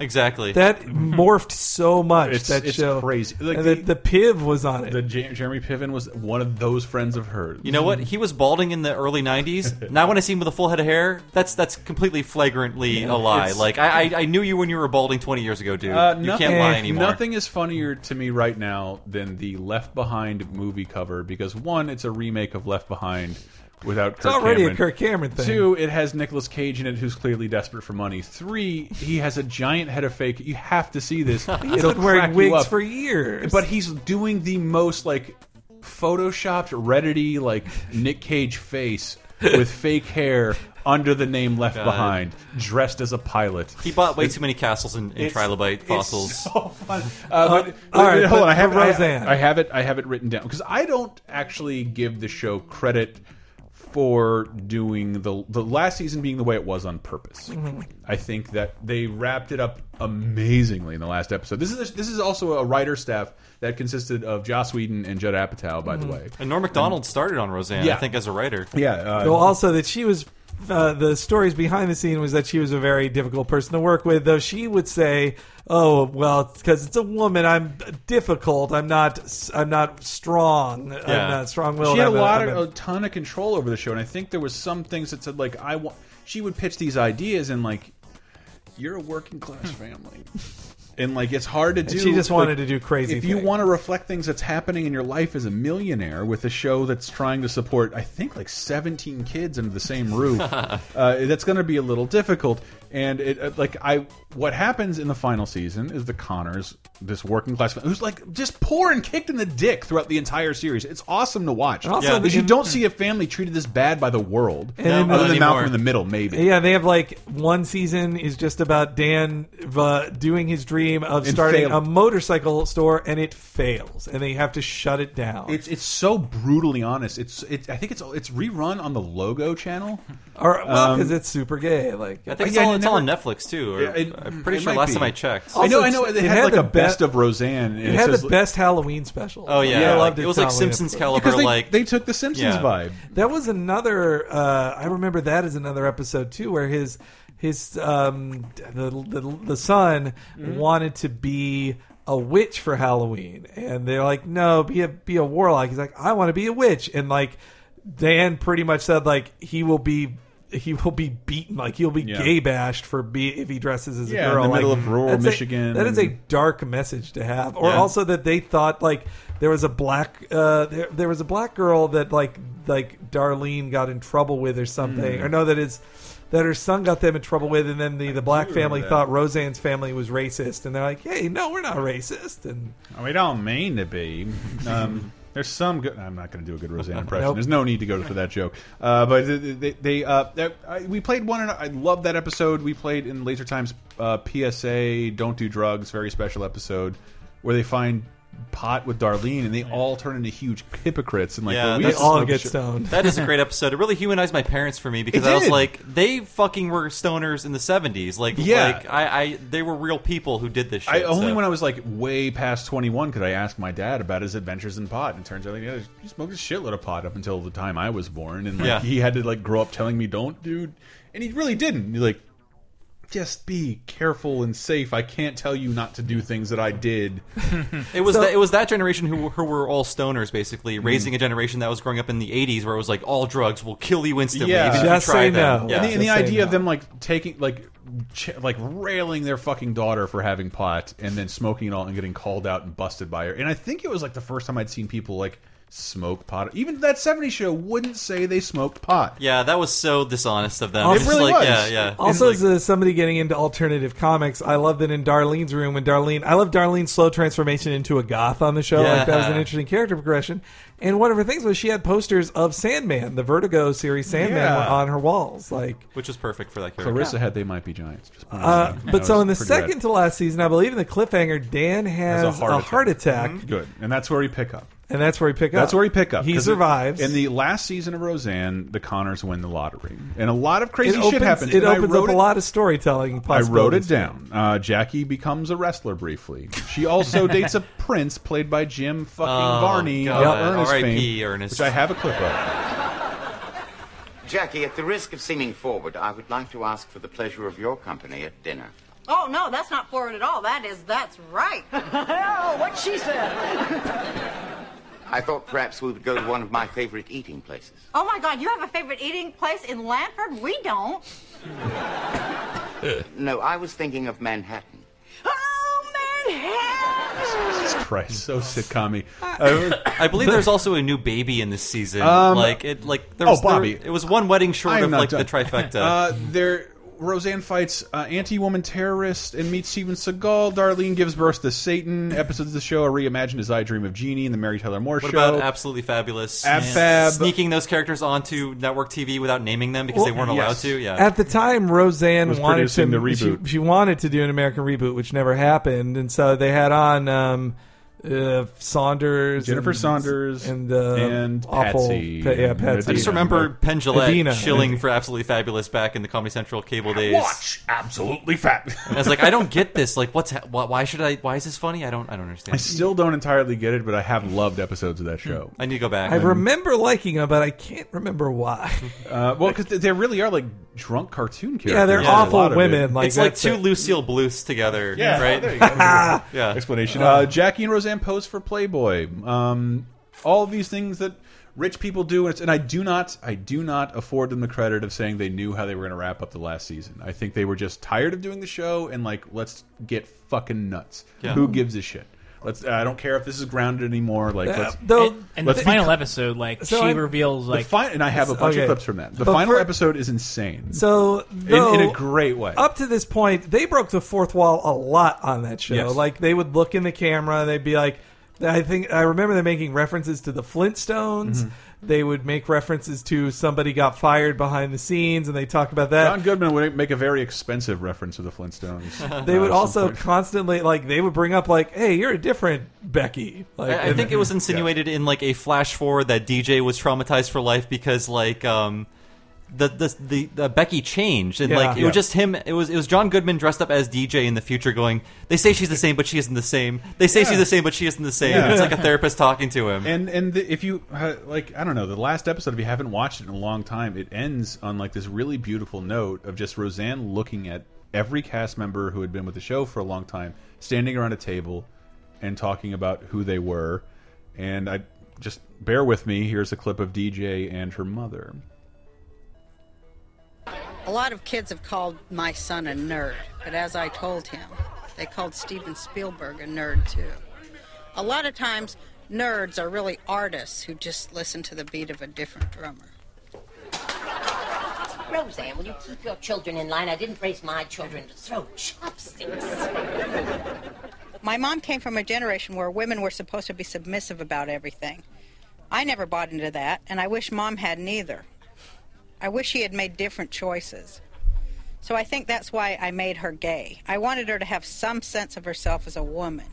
Exactly. That morphed so much. It's- that it's show crazy. Like and the, the- the Piv was on it. The J Jeremy Piven was one of those friends of hers. You know what? He was balding in the early '90s. now, when I see him with a full head of hair, that's that's completely flagrantly a lie. It's- Like I, I I knew you when you were balding 20 years ago, dude. Uh, you can't lie anymore. Nothing is funnier to me right now than the Left Behind movie cover because one, it's a remake of Left Behind without It's Kirk already a Cameron. Kirk Cameron thing. Two, it has Nicolas Cage in it who's clearly desperate for money. Three, he has a giant head of fake. You have to see this. He's It'll been wearing crack you wigs up. for years. But he's doing the most like photoshopped Reddity like Nick Cage face with fake hair under the name Left God. Behind, dressed as a pilot. He bought way too many castles and, and It's- trilobite it's fossils. so fun. Uh, Uh, but, all right, hold but- on. I have but I- Roseanne. I, have it. I have it written down because I don't actually give the show credit for doing the the last season being the way it was on purpose. Mhm. I think that they wrapped it up amazingly in the last episode. This is this is also a writer staff that consisted of Joss Whedon and Judd Apatow, by the way. And Norm Macdonald started on Roseanne, Yeah. I think, as a writer. Yeah, uh, Though also that she was uh, the stories behind the scene was that she was a very difficult person to work with. Though she would say, "Oh well, because it's a woman, I'm difficult. I'm not. I'm not strong. I'm not strong-willed." She had a I'm lot I'm of a ton of control over the show, and I think there was some things that said like I want. She would pitch these ideas and like, you're a working class family, and like it's hard to And do. she just wanted like, to do crazy If you things. want to reflect things that's happening in your life as a millionaire with a show that's trying to support, I think like 17 kids under the same roof, uh, that's going to be a little difficult. And it uh, like I what happens in the final season is the Connors, this working class fam- who's like just poor and kicked in the dick throughout the entire series. It's awesome to watch. And also Yeah. but you the- don't see a family treated this bad by the world, And then- other Not than Malcolm anymore. in the Middle, maybe. Yeah, they have like one season is just about Dan uh, doing his dream of And starting fail- a motorcycle store, and it fails, and they have to shut it down. It's it's so brutally honest. It's it's I think it's it's rerun on the Logo channel. Or well, Um, because it's super gay. Like I think it's, Yeah, all, I it's never- all on Netflix too. Or, Yeah, it- I'm pretty it sure might last be. Oh. time I checked. I know, I know. They had, like a the be- best of Roseanne. and It had says, the best Halloween special. Oh, yeah. I Yeah, loved like, it. it was like Halloween Simpsons episode. caliber, Because they- like- they took the Simpsons Yeah. vibe. That was another. Uh, I remember that as another episode too, where his his um, the the, the son Mhm. wanted to be a witch for Halloween, and they're like, no, be a be a warlock. He's like, I want to be a witch, and like Dan pretty much said like he will be. He will be beaten, like he'll be Yeah. gay bashed for be if he dresses as a Yeah, in girl. the Like, middle of rural that's a- Michigan that is a and- dark message to have or Yeah. also that they thought like there was a black uh there, there was a black girl that like like darlene got in trouble with or something Hmm. or no that is that her son got them in trouble with and then the, the black remember family that. thought roseanne's family was racist and they're like hey no we're not racist and Oh, we don't mean to be. Um, there's some good. I'm not going to do a good Roseanne impression. Nope. There's no need to go for that joke. Uh, but they, they, they uh, that- I, we played one. And I love that episode. We played in Laser Times uh, PSA. Don't do drugs. Very special episode where they find pot with Darlene and they all turn into huge hypocrites and like Yeah, well, we they used to all smoke get shit. stoned. that is a great episode. It really humanized my parents for me because I was did. like, they fucking were stoners in the '70s. Like, Yeah. like I, I, they were real people who did this shit. I only so. when I was like way past 21 could I ask my dad about his adventures in pot. And it turns out like, yeah, he smoked a shitload of pot up until the time I was born, and like Yeah. he had to like grow up telling me, "Don't, dude," and he really didn't. He, like, just be careful and safe. I can't tell you not to do things that I did. It was So- Mm. that it was that generation who, who were all stoners, basically raising a generation that was growing up in the '80s, where it was like all drugs will kill you instantly. Yeah. even if you Just try say them. And Yeah. the, and the idea of them like taking like ch like railing their fucking daughter for having pot and then smoking it all and getting called out and busted by her. And I think it was like the first time I'd seen people like smoke pot. Even that 70 show wouldn't say they smoked pot. Yeah, that was so dishonest of them. It It's just really like, was. Yeah, yeah. Also, as uh, somebody getting into alternative comics, I love that in Darlene's room when Darlene, I love Darlene's slow transformation into a goth on the show. Like that was an Yeah. interesting character progression. And one of her things was she had posters of Sandman, the Vertigo series Sandman, Yeah. were on her walls. Like, which was perfect for that character. Clarissa had They Might Be Giants. Just pointing uh, that out. but That so was in the pretty rad. second to last season, I believe in the cliffhanger, Dan has, Has a heart attack, Good. And that's where he pick up. and that's where he pick up. That's where he pick up. He 'cause it- survives. in the last season of Roseanne, the Connors win the lottery, and a lot of crazy It shit opens- happens. It and I opens wrote up a lot of storytelling. I wrote it possibilities. down. Uh, Jackie becomes a wrestler briefly. She also dates a prince played by Jim fucking Oh, Varney of God. Ernest R.I.P. fame, Ernest. which I have a clip of. Jackie, at the risk of seeming forward, I would like to ask for the pleasure of your company at dinner. Oh, no, that's not forward at all. That is, that's right. oh, what she said. I thought perhaps we would go to one of my favorite eating places. oh, my God, you have a favorite eating place in Lanford? We don't. no, I was thinking of Manhattan. Jesus Christ, so Uh, sitcom I believe there's also a new baby in this season. Um, like it, like there oh, was, there- Bobby. it was one wedding I short am of not like the done. trifecta. Uh, there, Roseanne fights uh, anti-woman terrorist and meets Steven Seagal. Darlene gives birth to Satan. Episodes of the show are reimagined as "I Dream of Jeannie" and the Mary Tyler Moore what Show. about absolutely fabulous? Ab Fab. sneaking those characters onto network TV without naming them because Well, they weren't yes. allowed to. Yeah, At the time, Roseanne Was wanted to producing the She, she wanted to do an American reboot, which never happened, and so they had on um, uh, Saunders, Jennifer and, Saunders and uh, and awful, Patsy Pa- yeah, and Patsy. I just remember Penn Jillette Adina. shilling for absolutely fabulous back in the Comedy Central cable days. Watch Absolutely Fat. And I was like, I don't get this. Like, what's ha- why, why should I? Why is this funny? I don't. I don't understand. I still don't entirely get it, but I have loved episodes of that show. I need to go back. I remember liking them, but I can't remember why. Uh, well, because they really are like drunk cartoon characters. Yeah, they're a awful lot of women, it. like, it's like two Lucille Bluths together. Yeah, Oh, right. there you go. yeah. explanation. Uh, Jackie and Roseanne pose for Playboy. Um, all of these things that rich people do, and, it's, and I do not, I do not afford them the credit of saying they knew how they were going to wrap up the last season. I think they were just tired of doing the show and like, let's get fucking nuts. Yeah. Who gives a shit? Let's. uh, I don't care if this is grounded anymore. Like, Uh, let's, though- And- and let's the final episode, like, she reveals, the like- fi- and I have a bunch Okay. of clips from that. The But final for- episode is insane. So, In- in, though, a great way. Up to this point, they broke the fourth wall a lot on that show. Yes. Like they would look in the camera, they'd be like, I think I remember them making references to the Flintstones. Mhm. They would make references to somebody got fired behind the scenes, and they talk about that. John Goodman would make a very expensive reference to the Flintstones. they would Uh, some also point. constantly like they would bring up like, "Hey, you're a different Becky." Like, I, I and- think it was insinuated in like a flash forward that DJ was traumatized for life because like um the the the, the Becky changed and Yeah. like it Yeah. was just him it was it was John Goodman dressed up as DJ in the future going they say she's the same but she isn't the same they say she's the same but she isn't the same Yeah. it's like a therapist talking to him And and the, if you uh, like, I don't know, the last episode, if you haven't watched it in a long time, it ends on like this really beautiful note of just Roseanne looking at every cast member who had been with the show for a long time, standing around a table and talking about who they were. And I just bear with me. Here's a clip of DJ and her mother. A lot of kids have called my son a nerd, but as I told him, they called Steven Spielberg a nerd too. A lot of times, nerds are really artists who just listen to the beat of a different drummer. Roseanne, will you keep your children in line? I didn't raise my children to throw chopsticks. My mom came from a generation where women were supposed to be submissive about everything. I never bought into that, and I wish mom hadn't either. I wish she had made different choices. So I think that's why I made her gay. I wanted her to have some sense of herself as a woman.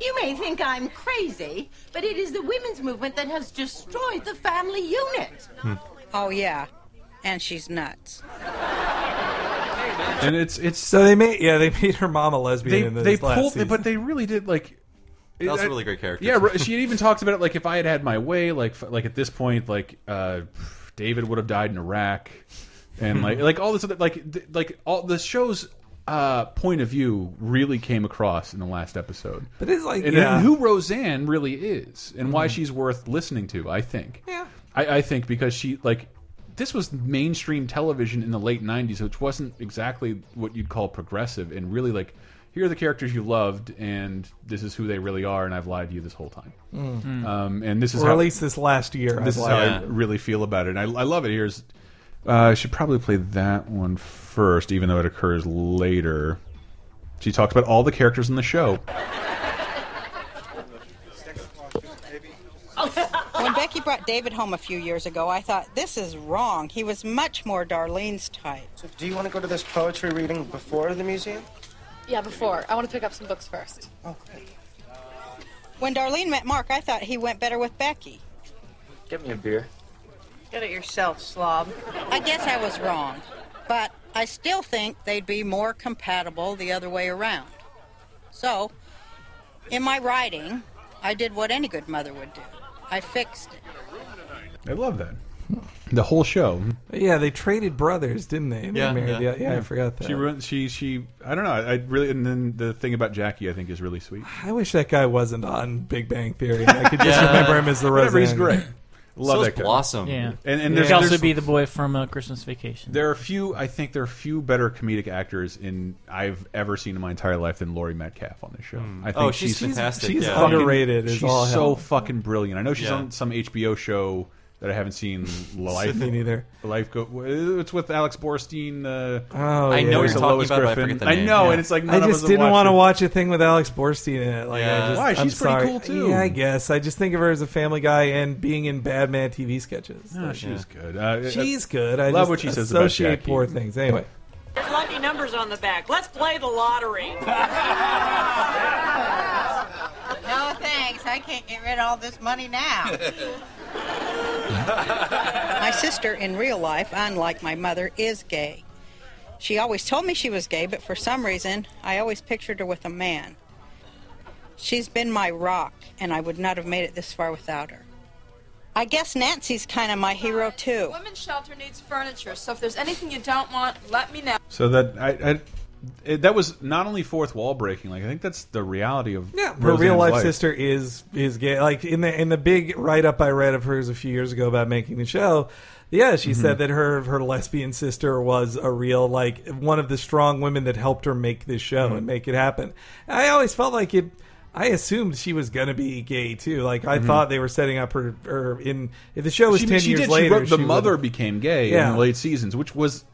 You may think I'm crazy, but it is the women's movement that has destroyed the family unit. Oh, yeah. And she's nuts. And it's it's so they made yeah they made her mom a lesbian. They in this they last pulled, season. but they really did like. That was a I- really great character. Yeah, Ro- she had even talked about it. Like, if I had had my way, like, f- like at this point, like, uh, David would have died in Iraq, and like, like all this other, like, th- like all the show's uh, point of view really came across in the last episode. But it's like, and, yeah. Mm-hmm. and who Roseanne really is, and why she's worth listening to. I think. Yeah. I, I think because she like. This was mainstream television in the late '90s, which wasn't exactly what you'd call progressive, and really like here are the characters you loved, and this is who they really are, and I've lied to you this whole time. Mm. Mm. Um, and this is Or at how, least this last year, This I've is how lied. I really feel about it. And I, I love it. Here's uh, I should probably play that one first, even though it occurs later. She talks about all the characters in the show. When Becky brought David home a few years ago, I thought, this is wrong. He was much more Darlene's type. So do you want to go to this poetry reading before the museum? Yeah, before. I want to pick up some books first. Oh, great. When Darlene met Mark, I thought he went better with Becky. Get me a beer. Get it yourself, slob. I guess I was wrong, but I still think they'd be more compatible the other way around. So, in my writing, I did what any good mother would do I fixed it. I love that. The whole show. Yeah, they traded brothers, didn't they? They married- yeah, yeah, I forgot that. She ruined. She she. I don't know. I, I really. And then the thing about Jackie, I think, is really sweet. I wish that guy wasn't on Big Bang Theory. I could just remember him as the Roseanne. Whatever, he's great. Love that guy. Yeah, And, He and there's, could also there's- be the boy from uh, Christmas Vacation. There are a few. I think there are a few better comedic actors in I've ever seen in my entire life than Laurie Metcalf on this show. I think Oh, she's fantastic, She's yeah. fucking- underrated as She's all so hell. fucking brilliant. I know she's Yeah. on some HBO show that I haven't seen. Life, Me neither. Life go. It's with Alex Borstein. Uh, Oh, I yeah. know I know, and it's like none I of us just have didn't watched want it. to watch a thing with Alex Borstein in it. Like, Yeah. I just, Why? I'm She's pretty sorry. cool, too. Yeah, I guess. I just think of her as a Family Guy and being in Bad Man TV sketches. No, Like, she's good. Oh, yeah. Uh, she's uh, good. I Ah, love just what she says about Associate Jackie. poor things. Anyway, There's lucky numbers on the back. Let's play the lottery. No thanks, I can't get rid of all this money now. my sister in real life, unlike my mother, is gay. She always told me she was gay, but for some reason, I always pictured her with a man. She's been my rock, and I would not have made it this far without her. I guess Nancy's kind of my hero, too. Women's shelter needs furniture, so if there's anything you don't want, let me know. So that I. I it, that was not only fourth wall breaking. Like I think that's the reality of yeah. her real life, sister is is gay. Like in the in the big write up I read of hers a few years ago about making the show. Yeah, she Mhm. said that her her lesbian sister was a real like one of the strong women that helped her make this Mm-hmm. show and make it happen. I always felt like it. I assumed she was gonna be gay too. Like I Mhm. thought they were setting up her, her in if the show was she, ten she years did. later. she wrote the would- mother became gay Yeah. in the late seasons, which was.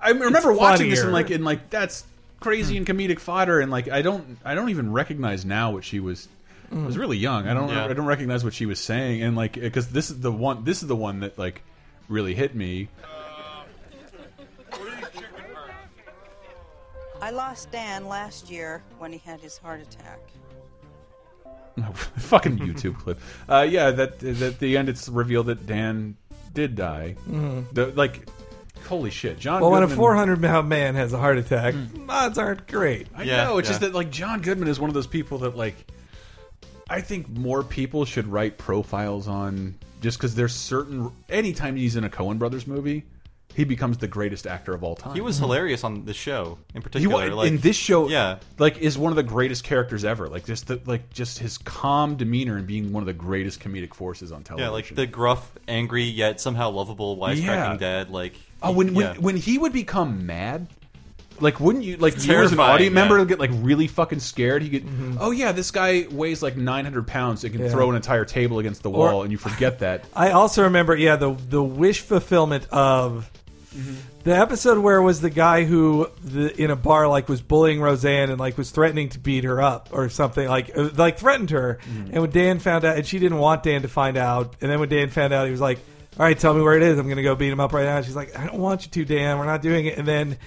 I remember It's Hmm. watching this and funnier. like and like that's crazy and comedic fodder and like I don't I don't even recognize now what she was. Hmm. I was Mm. really young. I don't Yeah. I don't recognize what she was saying and like because this is the one this is the one that like really hit me. I lost Dan last year when he had his heart attack. Fucking YouTube clip. Uh, yeah, that at the end it's revealed that Dan did die. Mhm. The, like, holy shit, John. Well, when a Goodman- four hundred pound man has a heart attack, Mm. odds aren't great. I know. It's just that like John Goodman is one of those people that like I think more people should write profiles on just because there's certain anytime he's in a Cohen Brothers movie, he becomes the greatest actor of all time. He was hilarious on the show in He particular. wa- like, Mm-hmm. in this show, yeah, like is one of the greatest characters ever. Like just the, like just his calm demeanor and being one of the greatest comedic forces on television. yeah, like the gruff, angry yet somehow lovable wisecracking dad. Like Oh, when when, yeah. when he would become mad, like wouldn't you like It's you as an terrifying, audience yeah. member would get like really fucking scared? He could, oh yeah, this guy weighs like nine hundred pounds and can Mm-hmm. Yeah. throw an entire table against the Or- wall, and you forget that. I also remember, yeah, the the wish fulfillment of the episode where it was the guy who the, in a bar like was bullying Roseanne and like was threatening to beat her up or something like uh, like threatened her. Mm-hmm. And when Dan found out, and she didn't want Dan to find out, and then when Dan found out, he was like, "All right, tell me where it is. I'm gonna go beat him up right now." And she's like, "I don't want you to, Dan. We're not doing it." And then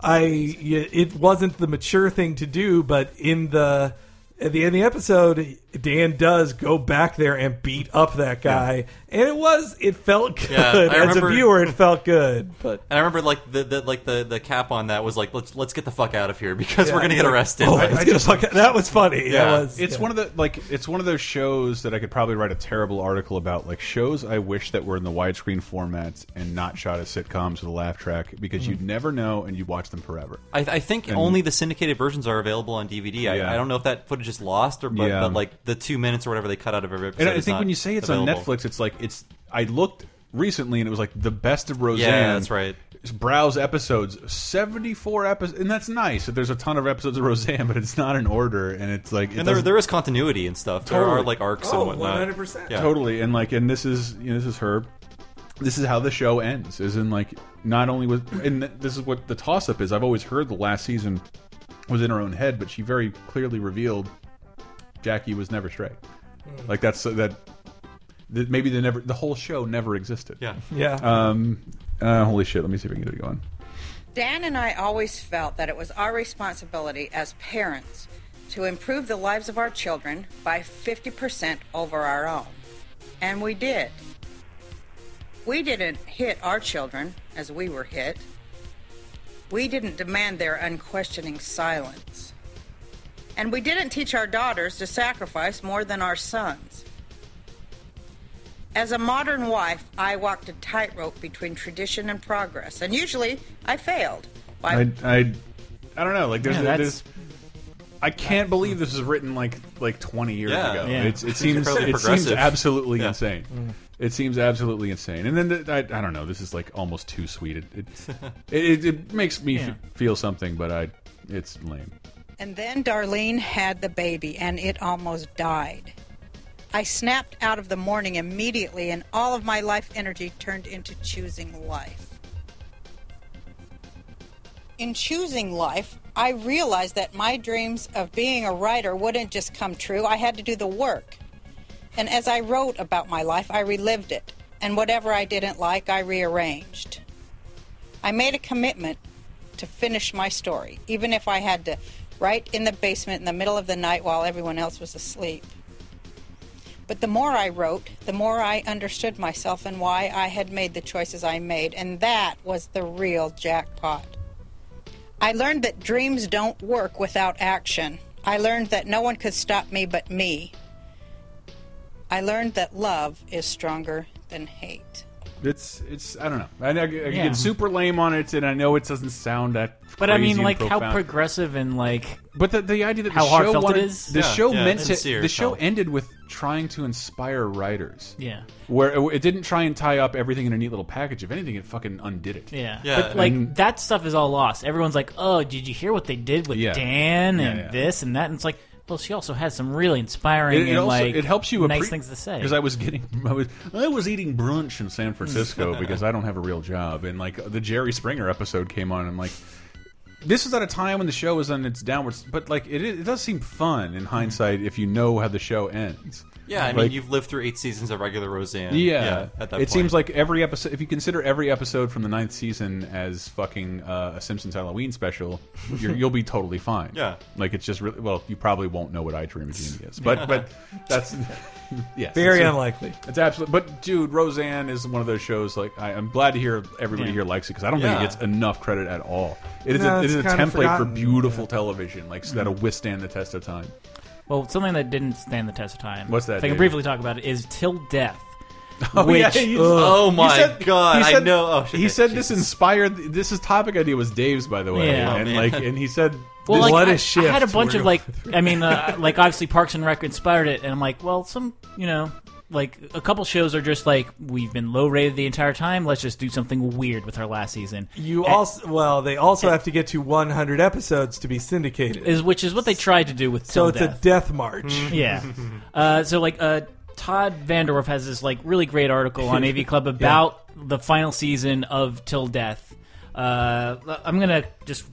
I y- it wasn't the mature thing to do, but in the at the end of the episode, Dan does go back there and beat up that guy, and it was it felt good Yeah, I as a remember- viewer. It felt good, but And I remember like the, the like the, the cap on that was like let's let's get the fuck out of here because Yeah. we're gonna get arrested. Oh, let's get the fuck out- that was funny. That was it's one of the like it's one of those shows that I could probably write a terrible article about. Like shows I wish that were in the widescreen formats and not shot as sitcoms with a laugh track because Mhm. you'd Mm. never know and you'd watch them forever. I, I think And- only the syndicated versions are available on DVD. Yeah. I, I don't know if that footage is lost or but, Yeah. but like the two minutes or whatever they cut out of every episode. And I is think not when you say it's available. on Netflix, it's like it's. I looked recently, and it was like the best of Roseanne. Yeah, that's right. browse episodes, seventy-four episodes, and that's nice. That there's a ton of episodes of Roseanne, but it's not in order, and it's like it And there, doesn't- there is continuity and stuff. There are like arcs Oh, and whatnot. Yeah. Totally, and like, and this is you know, this is her. This is how the show ends. Is in like not only was and th- this is what the toss up is. I've always heard the last season was in her own head, but she very clearly revealed Jackie was never straight. Hmm. Like that's uh, that. That maybe the never the whole show never existed. Yeah. Yeah. Um. uh, holy shit! Let me see if I can get it going. Dan and I always felt that it was our responsibility as parents to improve the lives of our children by 50% over our own. And we did. We didn't hit our children as we were hit. We didn't demand their unquestioning silence. And we didn't teach our daughters to sacrifice more than our sons. As a modern wife, I walked a tightrope between tradition and progress, and usually I failed. by I, I, I don't know. Like there's, Yeah, that's- there's I can't believe this was written like like 20 years Yeah. ago. Yeah. It's, it It's seems incredibly it seems progressive. absolutely Yeah. insane. Mm. It seems absolutely insane. And then the, I, I don't know. This is like almost too sweet. It it, it, it makes me Yeah. f feel something, but I it's lame. And then Darlene had the baby, and it almost died. I snapped out of the morning immediately, and all of my life energy turned into choosing life. In choosing life, I realized that my dreams of being a writer wouldn't just come true. I had to do the work. And as I wrote about my life, I relived it. And whatever I didn't like, I rearranged. I made a commitment to finish my story, even if I had to write in the basement in the middle of the night while everyone else was asleep. But the more I wrote, the more I understood myself and why I had made the choices I made, and that was the real jackpot. I learned that dreams don't work without action. I learned that no one could stop me but me. I learned that love is stronger than hate. It's it's I don't know. I, I, I Yeah. get super lame on it, and I know it doesn't sound that. But I crazy mean, and like how profound. progressive and like. But the, the idea that how the show heartfelt wanted- it is. The show meant to. Sincere, the show so. ended with trying to inspire writers. Yeah. Where it, it didn't try and tie up everything in a neat little package. If anything, it fucking undid it. Yeah. But like that stuff is all lost. Everyone's like, "Oh, did you hear what they did with Yeah. Dan Yeah, and yeah. this and that?" And it's like, well, she also has some really inspiring It- it and also- like it helps you nice appre- things to say. because I was getting I was I was eating brunch in San Francisco because I don't have a real job and like the Jerry Springer episode came on and I'm like this is at a time when the show is on its downwards but like it, is- it does seem fun in hindsight if you know how the show ends Yeah, I mean, Like, you've lived through eight seasons of regular Roseanne. yeah, at that it point. seems like every episode if you consider every episode from the ninth season as fucking uh, a Simpsons Halloween special you're, you'll be totally fine Yeah. like it's just really well you probably won't know what I Dream of Jeannie is but but that's yeah Very it's a- unlikely. It's absolutely. But dude, Roseanne is one of those shows. Like I, I'm glad to hear everybody Yeah. here likes it because I don't Yeah. think it gets enough credit at all. It is No, a, it it's is a kind of template for forgotten. beautiful television, like so Mm-hmm. Mhm. that'll withstand the test of time. Well, something that didn't stand the test of time. What's that, If I can David? briefly talk about it, is Till Death. Oh, which, yeah, you- Oh, he my said- God, he I said- know. Oh, shit, he said this inspired. This is topic idea was Dave's, by the way, Yeah. Oh, and man. like, and he said, Well, this- like, I, I had a bunch of like, I mean, uh, like obviously Parks and Rec inspired it, and I'm like, well, some, you know, like a couple shows are just like we've been low rated the entire time. Let's just do something weird with our last season. You And- also well, they also have to get to 100 episodes to be syndicated. is which is what they tried to do with So Till it's a Death. death Hmm. march. yeah. Uh, so like uh, Todd Vandorf has this like really great article on AV Club about the final season of Till Death. Uh, I'm gonna just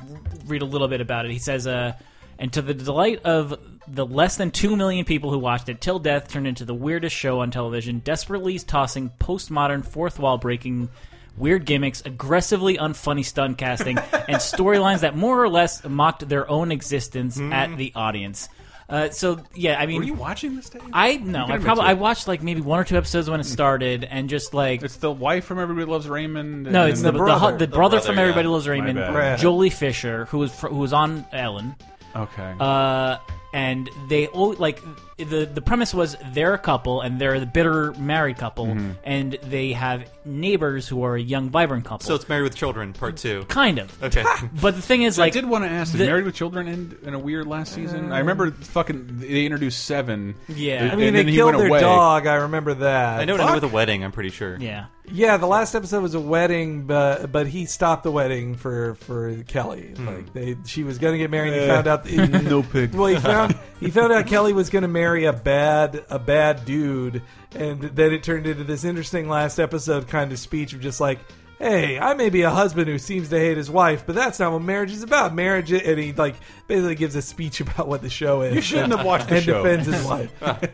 read a little bit about it. He says, uh, and to the delight of the less than two million people who watched it, Till Death turned into the weirdest show on television, desperately tossing postmodern fourth wall breaking weird gimmicks, aggressively unfunny stunt casting, and storylines that more or less mocked their own existence at the audience. Uh, so yeah, I mean, Were you watching this? Dave? I no, You can I admit probably to it. I watched like maybe one or two episodes when it started, and just like it's the wife from Everybody Loves Raymond. No, and- it's the the, hu- the brother, from Everybody Loves My Raymond, bad. Jolie Fisher, who was fr- who was on Ellen. Okay. Uh, and they al- like the the premise was they're a couple and they're the bitter married couple Mhm. and they have neighbors who are a young vibrant couple. So it's Married with Children, part two. Kind of. Okay. but the thing is, I like, did want to ask: did the- Married with Children end in a weird last season? I remember fucking they introduced seven. Yeah. and I mean, then they he killed went their away. dog. I remember that. I know it ended Fuck. with a wedding. I'm pretty sure. Yeah. Yeah, the last episode was a wedding, but but he stopped the wedding for for Kelly. Hmm. Like they, she was going to get married. and He Eh, found out no pig. Well, he found he found out Kelly was going to marry a bad a bad dude, and then it turned into this interesting last episode kind of speech of just like. Hey, I may be a husband who seems to hate his wife, but that's not what marriage is about. Marriage, and he like basically gives a speech about what the show is. You shouldn't have watched the and show. defends his wife.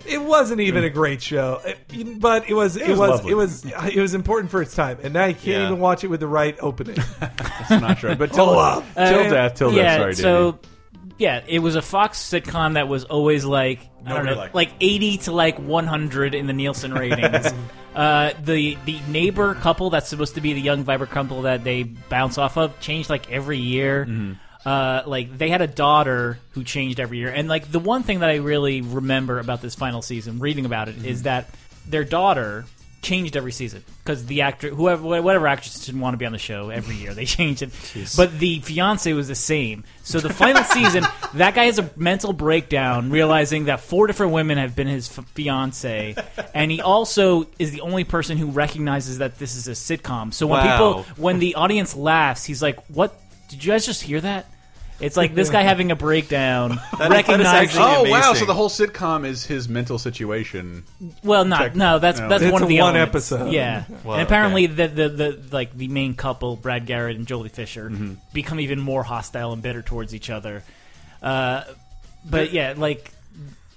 it wasn't even a great show, It- but it was it, It was was lovely. it was it was important for its time, and now you can't Yeah. even watch it with the right opening. That's not true. But till, Oh, wow. till Uh, death, till yeah, death. Sorry, so Davey. yeah, it was a Fox sitcom that was always like I don't Nobody know, liked like, eighty to like one hundred in the Nielsen ratings. uh, the the neighbor couple that's supposed to be the young vibrant couple that they bounce off of changed like every year. Uh, like they had a daughter who changed every year, and like the one thing that I really remember about this final season, reading about it, is Mhm. that their daughter changed every season because the actor, whoever, whatever actress didn't want to be on the show every year, they changed it. But the fiance was the same. So the final season, that guy has a mental breakdown, realizing that four different women have been his f- fiance, and he also is the only person who recognizes that this is a sitcom. So when Wow. people, when the audience laughs, he's like, "What? Did you guys just hear that?" It's like this guy having a breakdown, recognizing. oh wow! So the whole sitcom is his mental situation. Well, not Tech- no. That's no. that's It's one of the one elements. episode. Yeah, Well, and apparently the, the the like the main couple, Brad Garrett and Jolie Fisher, Mm-hmm. become even more hostile and bitter towards each other. Uh, but yeah, like,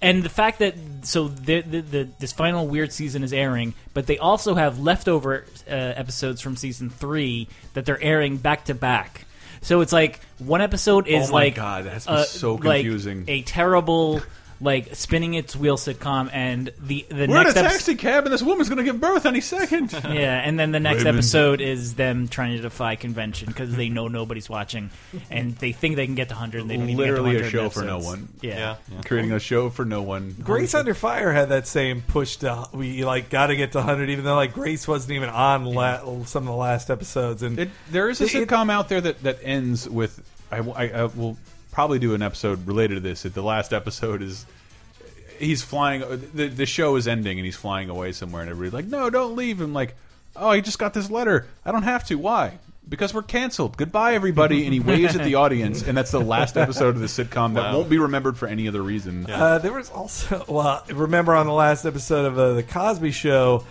and the fact that so the, the, the this final weird season is airing, but they also have leftover uh, episodes from season three that they're airing back to back. So it's like one episode is Oh my like God, that has been so like, confusing. a terrible like spinning its wheel sitcom and the the We're in a next episode taxi cab, and this woman's going to give birth any second. yeah, and then the next Raymond. episode is them trying to defy convention because they know nobody's watching, and they think they can get to hundred. and They don't even Literally get to a 100 show for no episodes. one. Yeah. creating a show for no one. Grace Under Fire had that same push to we like got to get to hundred, even though like Grace wasn't even on la- some of the last episodes. And There is a sitcom out there that that ends with I, I, I will probably do an episode related to this. That the last episode is he's flying. The the show is ending and he's flying away somewhere, and everybody's like, "No, don't leave." him." like, "Oh, I just got this letter. I don't have to. Why?" Because we're canceled. Goodbye, everybody. And he waves at the audience, and that's the last episode of the sitcom that Wow. won't be remembered for any other reason. Uh, there was also well, remember on the last episode of uh, the Cosby Show,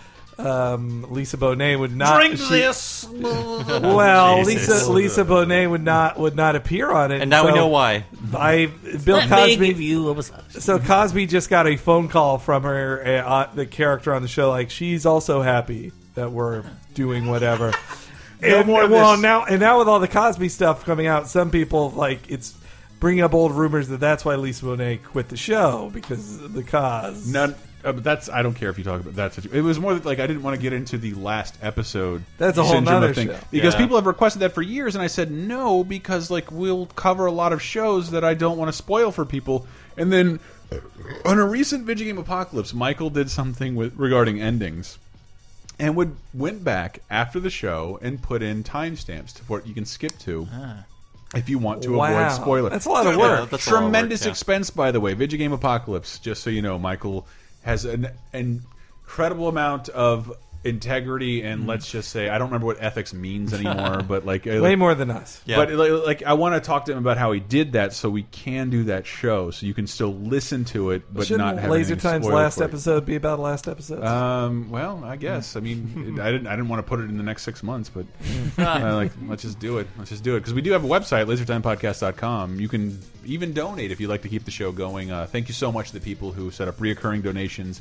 um, Lisa Bonet would not Drink she- this. well, Jesus. Lisa Lisa Bonet would not would not appear on it, And now we so know why. I Bill Let me Cosby give you a massage. So Cosby just got a phone call from her, uh, uh, the character on the show, like she's also happy that we're doing whatever. No and, more of well this. now, and now with all the Cosby stuff coming out, some people like it's bringing up old rumors that that's why Lisa Bonet quit the show because of the cause. None. Uh, but that's I don't care if you talk about that. situ- It was more that, like I didn't want to get into the last episode. That's a whole syndrome of nother thing show. because Yeah. people have requested that for years, and I said no because like we'll cover a lot of shows that I don't want to spoil for people. And then on a recent video game apocalypse, Michael did something with regarding endings, and would went back after the show and put in timestamps to what you can skip to. If you want to Wow. avoid spoiler, That's a lot of work. Ah. Yeah, that's a lot of work, Tremendous yeah. expense, by the way. Video game apocalypse. Just so you know, Michael has an, an incredible amount of integrity, and Hmm. let's just say I don't remember what ethics means anymore, but like I- Way more than us. Yeah. But like, like, I want to talk to him about how he did that, so we can do that show, so you can still listen to it, but Shouldn't not have Laser anything Time's spoiled last for you. episode be about last episode? Um, well, I guess. I mean, it- I didn't. I didn't want to put it in the next six months, but uh, like, let's just do it. Let's just do it because we do have a website, lasertimepodcast.com. You can even donate if you'd like to keep the show going. Uh, thank you so much to the people who set up reoccurring donations,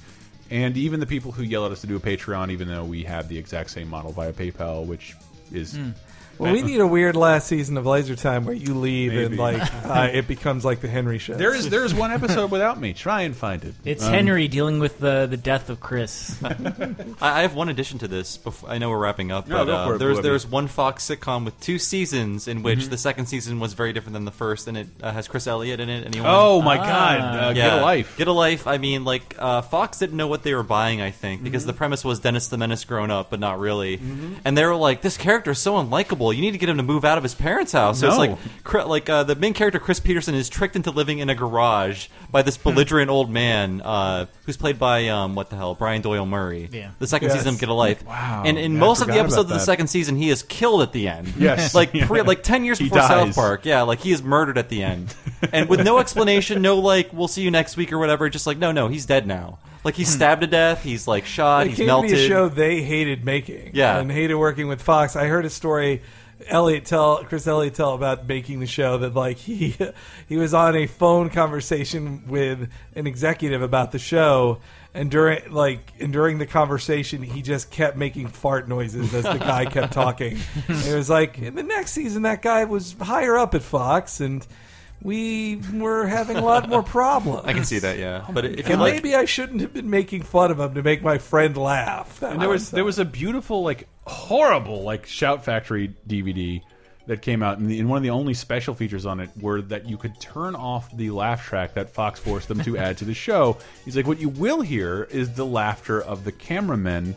and even the people who yell at us to do a Patreon, even though we have the exact same model via PayPal, which is. Well, we need a weird last season of Laser Time where you leave and like uh, it becomes like the Henry show. There is there is one episode without me. Try and find it. It's Um, Henry dealing with the the death of Chris. I I have one addition to this. Before, I know we're wrapping up, No, but go uh, for it, there's Blippi. there's one Fox sitcom with two seasons in which Mhm. the second season was very different than the first, and it uh, has Chris Elliott in it. Anyone? Oh, my Ah. God, uh, Get a Life. Get a life. I mean, like uh, Fox didn't know what they were buying. I think because Mhm. the premise was Dennis the Menace grown up, but not really. Mhm. And they were like, this character is so unlikable. You need to get him to move out of his parents' house. So No. it's like Cri- like uh, the main character Chris Peterson is tricked into living in a garage by this Hmm. belligerent old man uh, who's played by um, what the hell Brian Doyle Murray. Yeah. The second Yes. season of Get a Life. Wow. And in Yeah, I most of the forgot about episodes of the that. second season, he is killed at the end. Yes. like Yeah. pre- like ten years He before dies. South Park. Yeah, like he is murdered at the end, and with no explanation, no like we'll see you next week or whatever. Just like no, no, he's dead now. Like he's Hmm. stabbed to death. He's like shot. It he's came melted. to be a show they hated making. Yeah. and hated working with Fox. I heard a story. Elliot tell Chris Elliot tell about making the show that like he he was on a phone conversation with an executive about the show and during like and during the conversation he just kept making fart noises as the guy kept talking. It was like in the next season that guy was higher up at Fox and we were having a lot more problems. Oh I can see that. Yeah, but if you And like, maybe I shouldn't have been making fun of him to make my friend laugh. That And there was there was a beautiful like horrible like Shout Factory DVD that came out, and, the, and one of the only special features on it were that you could turn off the laugh track that Fox forced them to add to the show. He's like, what you will hear is the laughter of the cameramen.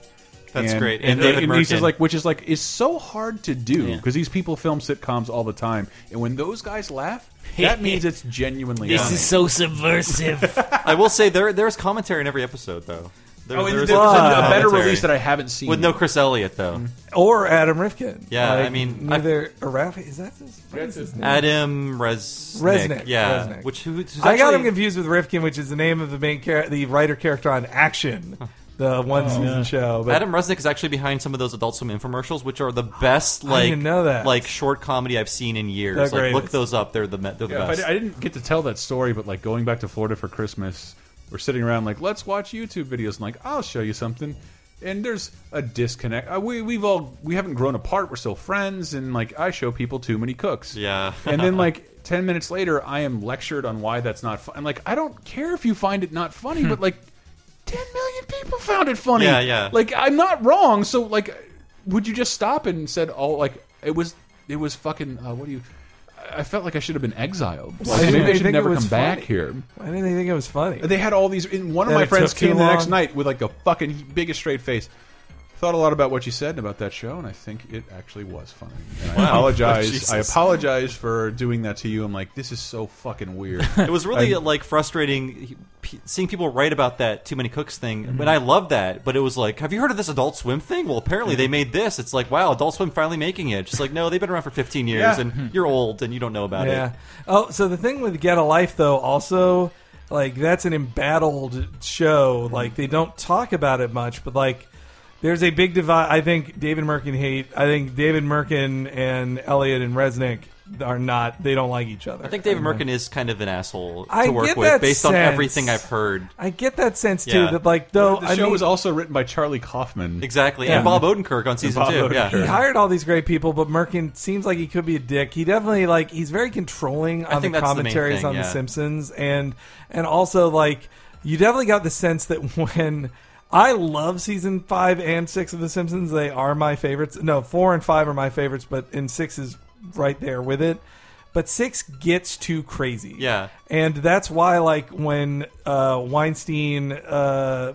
That's and, great. and, And David and he's just Merkin. like, which is like, is so hard to do Yeah. because these people film sitcoms all the time, and when those guys laugh, that means it's genuinely. funny. I will say there there's commentary in every episode though. There, Oh, and there's there was a- a better commentary. release that I haven't seen Mm-hmm. with no Chris Elliott though. or Adam Rifkin. Yeah, Like, I mean, neither Araf is that his, what is his name? Adam Resnick. Resnick. Yeah, Resnick. which who, who's I got actually- him confused with Rifkin, which is the name of the main char- the writer character on Action, the one season show. But Adam Resnick is actually behind some of those Adult Swim infomercials, which are the best I like didn't know that. like short comedy I've seen in years. They're like great. look those up; they're the me- they're Yeah, the if best. I, I didn't get to tell that story, but like going back to Florida for Christmas, we're sitting around like, let's watch YouTube videos. And like, I'll show you something. And there's a disconnect. Uh, we we've all we haven't grown apart. We're still friends. And like, I show people too many cooks. yeah, and then Uh-huh. like ten minutes later, I am lectured on why that's not fun. I'm like, I don't care if you find it not funny, but like, ten million people found it funny. Hmm. Yeah, yeah. Like, I'm not wrong. So like, would you just stop and said, oh, like it was it was fucking uh, what do you? I- I felt like I should have been exiled. Why Like, didn't maybe they I should think it never come was back funny? here. why didn't they think it was funny? They had all these. And one of That my it friends took too came the next long? night with like the fucking biggest straight face. Thought a lot about what you said and about that show, and I think it actually was funny. And I Wow. apologize. Jesus. I apologize for doing that to you. I'm like, this is so fucking weird. it was really I- like frustrating he- p- seeing people write about that too many cooks thing Mm-hmm. but i love that but it was like have you heard of this adult swim thing well apparently Mm-hmm. they made this it's like wow adult swim finally making it just like no they've been around for 15 years Yeah. Mm-hmm. and you're old and you don't know about yeah. it Oh, so the thing with Get a Life though, also like that's an embattled show. Like they don't talk about it much, but like there's a big divide. I think David Merkin hate. I think David Merkin and Elliot and Resnick are not. They don't like each other. i think Um, david merkin is kind of an asshole to I work get with that based on sense. everything i've heard I get that sense Yeah. too. That like though the I show mean, was also written by Charlie Kaufman. Exactly, and Bob Odenkirk on And season Bob two, yeah. Odenkirk. He hired all these great people, but Merkin seems like he could be a dick. He definitely like he's very controlling I on the think that's the main commentaries thing, on The yeah. Simpsons, and and also like you definitely got the sense that when. I love season five and six of The Simpsons. They are my favorites. No, four and five are my favorites, but and six is right there with it. But six gets too crazy. Yeah. And that's why, like, when uh, Weinstein uh,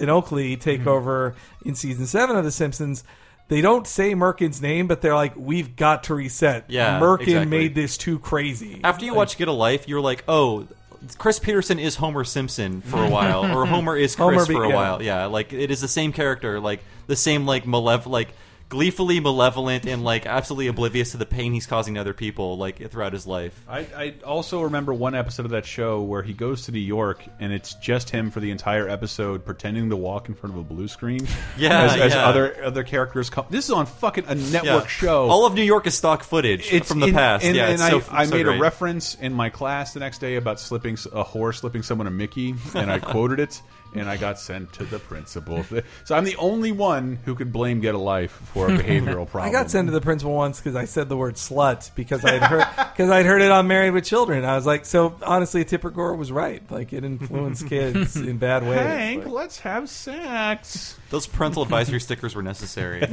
and Oakley take Mm-hmm. over in season seven of The Simpsons, they don't say Merkin's name, but they're like, we've got to reset. Yeah, Merkin exactly. made this too crazy. After you watch Get a Life, you're like, oh, Chris Peterson is Homer Simpson for a while, or Homer is Chris Homer be- for a yeah. while. Yeah, like it is the same character, like the same like malev like gleefully malevolent and like absolutely oblivious to the pain he's causing to other people like throughout his life. I, I also remember one episode of that show where he goes to New York and it's just him for the entire episode pretending to walk in front of a blue screen. Yeah, as, as yeah. other other characters come. This is on fucking a network Yeah. show. All of New York is stock footage It's from the in- past. And, yeah, and it's I, so, I so made great. a reference in my class the next day about slipping s- a whore slipping someone a Mickey, and I quoted it. and I got sent to the principal. So I'm the only one who could blame Get a Life for a behavioral problem. I got sent to the principal once because I said the word slut because I'd heard because I'd heard it on Married with Children. I was like, so honestly, Tipper Gore was right. Like it influenced kids in bad ways. Hank, let's have sex. Those parental advisory stickers were necessary.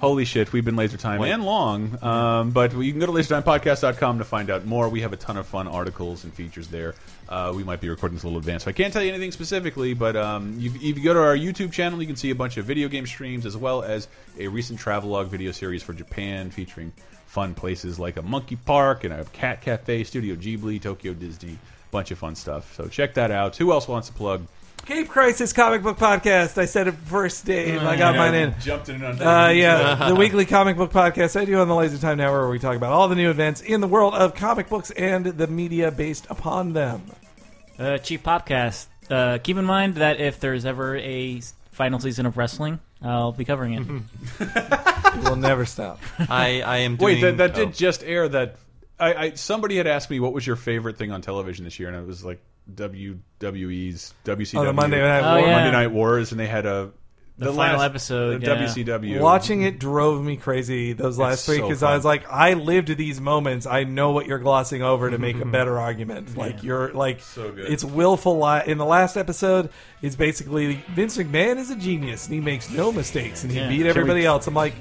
Holy shit, we've been laser time and long. Um, but you can go to lasertimepodcast.com to find out more. We have a ton of fun articles and features there. Uh, we might be recording this a little advanced, so I can't tell you anything specifically. But um, you, if you go to our YouTube channel, you can see a bunch of video game streams as well as a recent travelogue video series for Japan featuring fun places like a monkey park and a cat cafe, Studio Ghibli, Tokyo Disney, bunch of fun stuff. So check that out. Who else wants to plug? Cape Crisis comic book podcast. I said it first, Dave. I got Yeah, mine in. Jumped in on Uh, yeah, the weekly comic book podcast I do on the Laser Time Network, where we talk about all the new events in the world of comic books and the media based upon them. Uh, Cheap Popcast. Uh, keep in mind that if there's ever a s- final season of wrestling, I'll be covering it. we'll never stop. I, I am Wait, doing. that, that oh. did just air. That I, I somebody had asked me what was your favorite thing on television this year, and it was like WWE's WCW. Oh, the Monday Night Monday Wars. Night Wars, and they had a The final last- episode, the yeah. WCW. Watching it drove me crazy those last It's week so because fun. I was like, I lived these moments. I know what you're glossing over to make a better argument. Like you're like, So good. it's willful. Li- in the last episode, it's basically Vince McMahon is a genius and he makes no mistakes and he Yeah. beat Can we- everybody else. I'm like,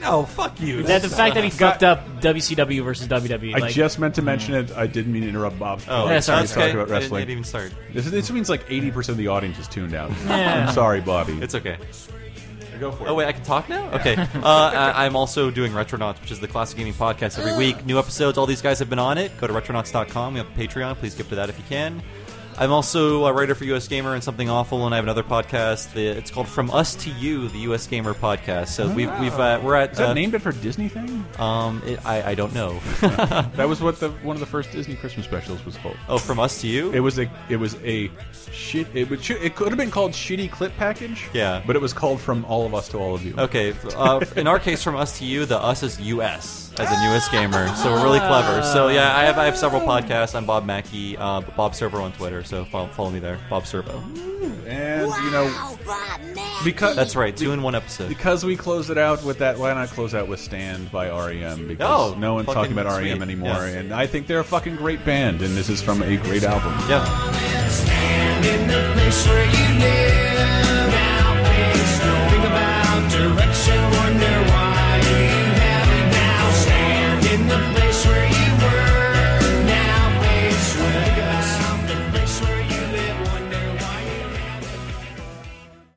no, fuck you. That the fact that he Got- fucked up WCW versus WWE. I like, just meant to mention it. I didn't mean to interrupt Bob's. Oh, plan. yeah, sorry, I was sorry. talking about I didn't- wrestling. I didn't even start. This, this means like eighty percent of the audience is tuned out. Yeah. I'm sorry, Bobby. It's okay. Go for it. Oh wait, I can talk now. Okay, uh, I, I'm also doing Retronauts, which is the classic gaming podcast Ah. every week. New episodes. All these guys have been on it. Go to retronauts.com. We have a Patreon. Please give to that if you can. I'm also a writer for US Gamer and Something Awful, and I have another podcast. The, it's called From Us to You, the US Gamer podcast. So we've, we've uh, we're at Oh, Is that uh, named after a Disney thing? Um, it, I I don't know. that was what the one of the first Disney Christmas specials was called. Oh, from us to you. It was a it was a shit. It would it could have been called shitty clip package. Yeah. but it was called from all of us to all of you. Okay, uh, in our case, from us to you, the us is us as a newest gamer, so we're really clever. So yeah, I have I have several podcasts. I'm Bob Mackey, uh, Bob Servo on Twitter, so follow, follow me there, Bob Servo. and you know because That's right, two in one episode. Because we closed it out with that. Why not close out with "Stand" by REM? Because Oh, no one's fucking talking about sweet. REM anymore, Yes. and I think they're a fucking great band, and this is from a great album. Yeah. Stand in the place where you live. Now, please think about direction.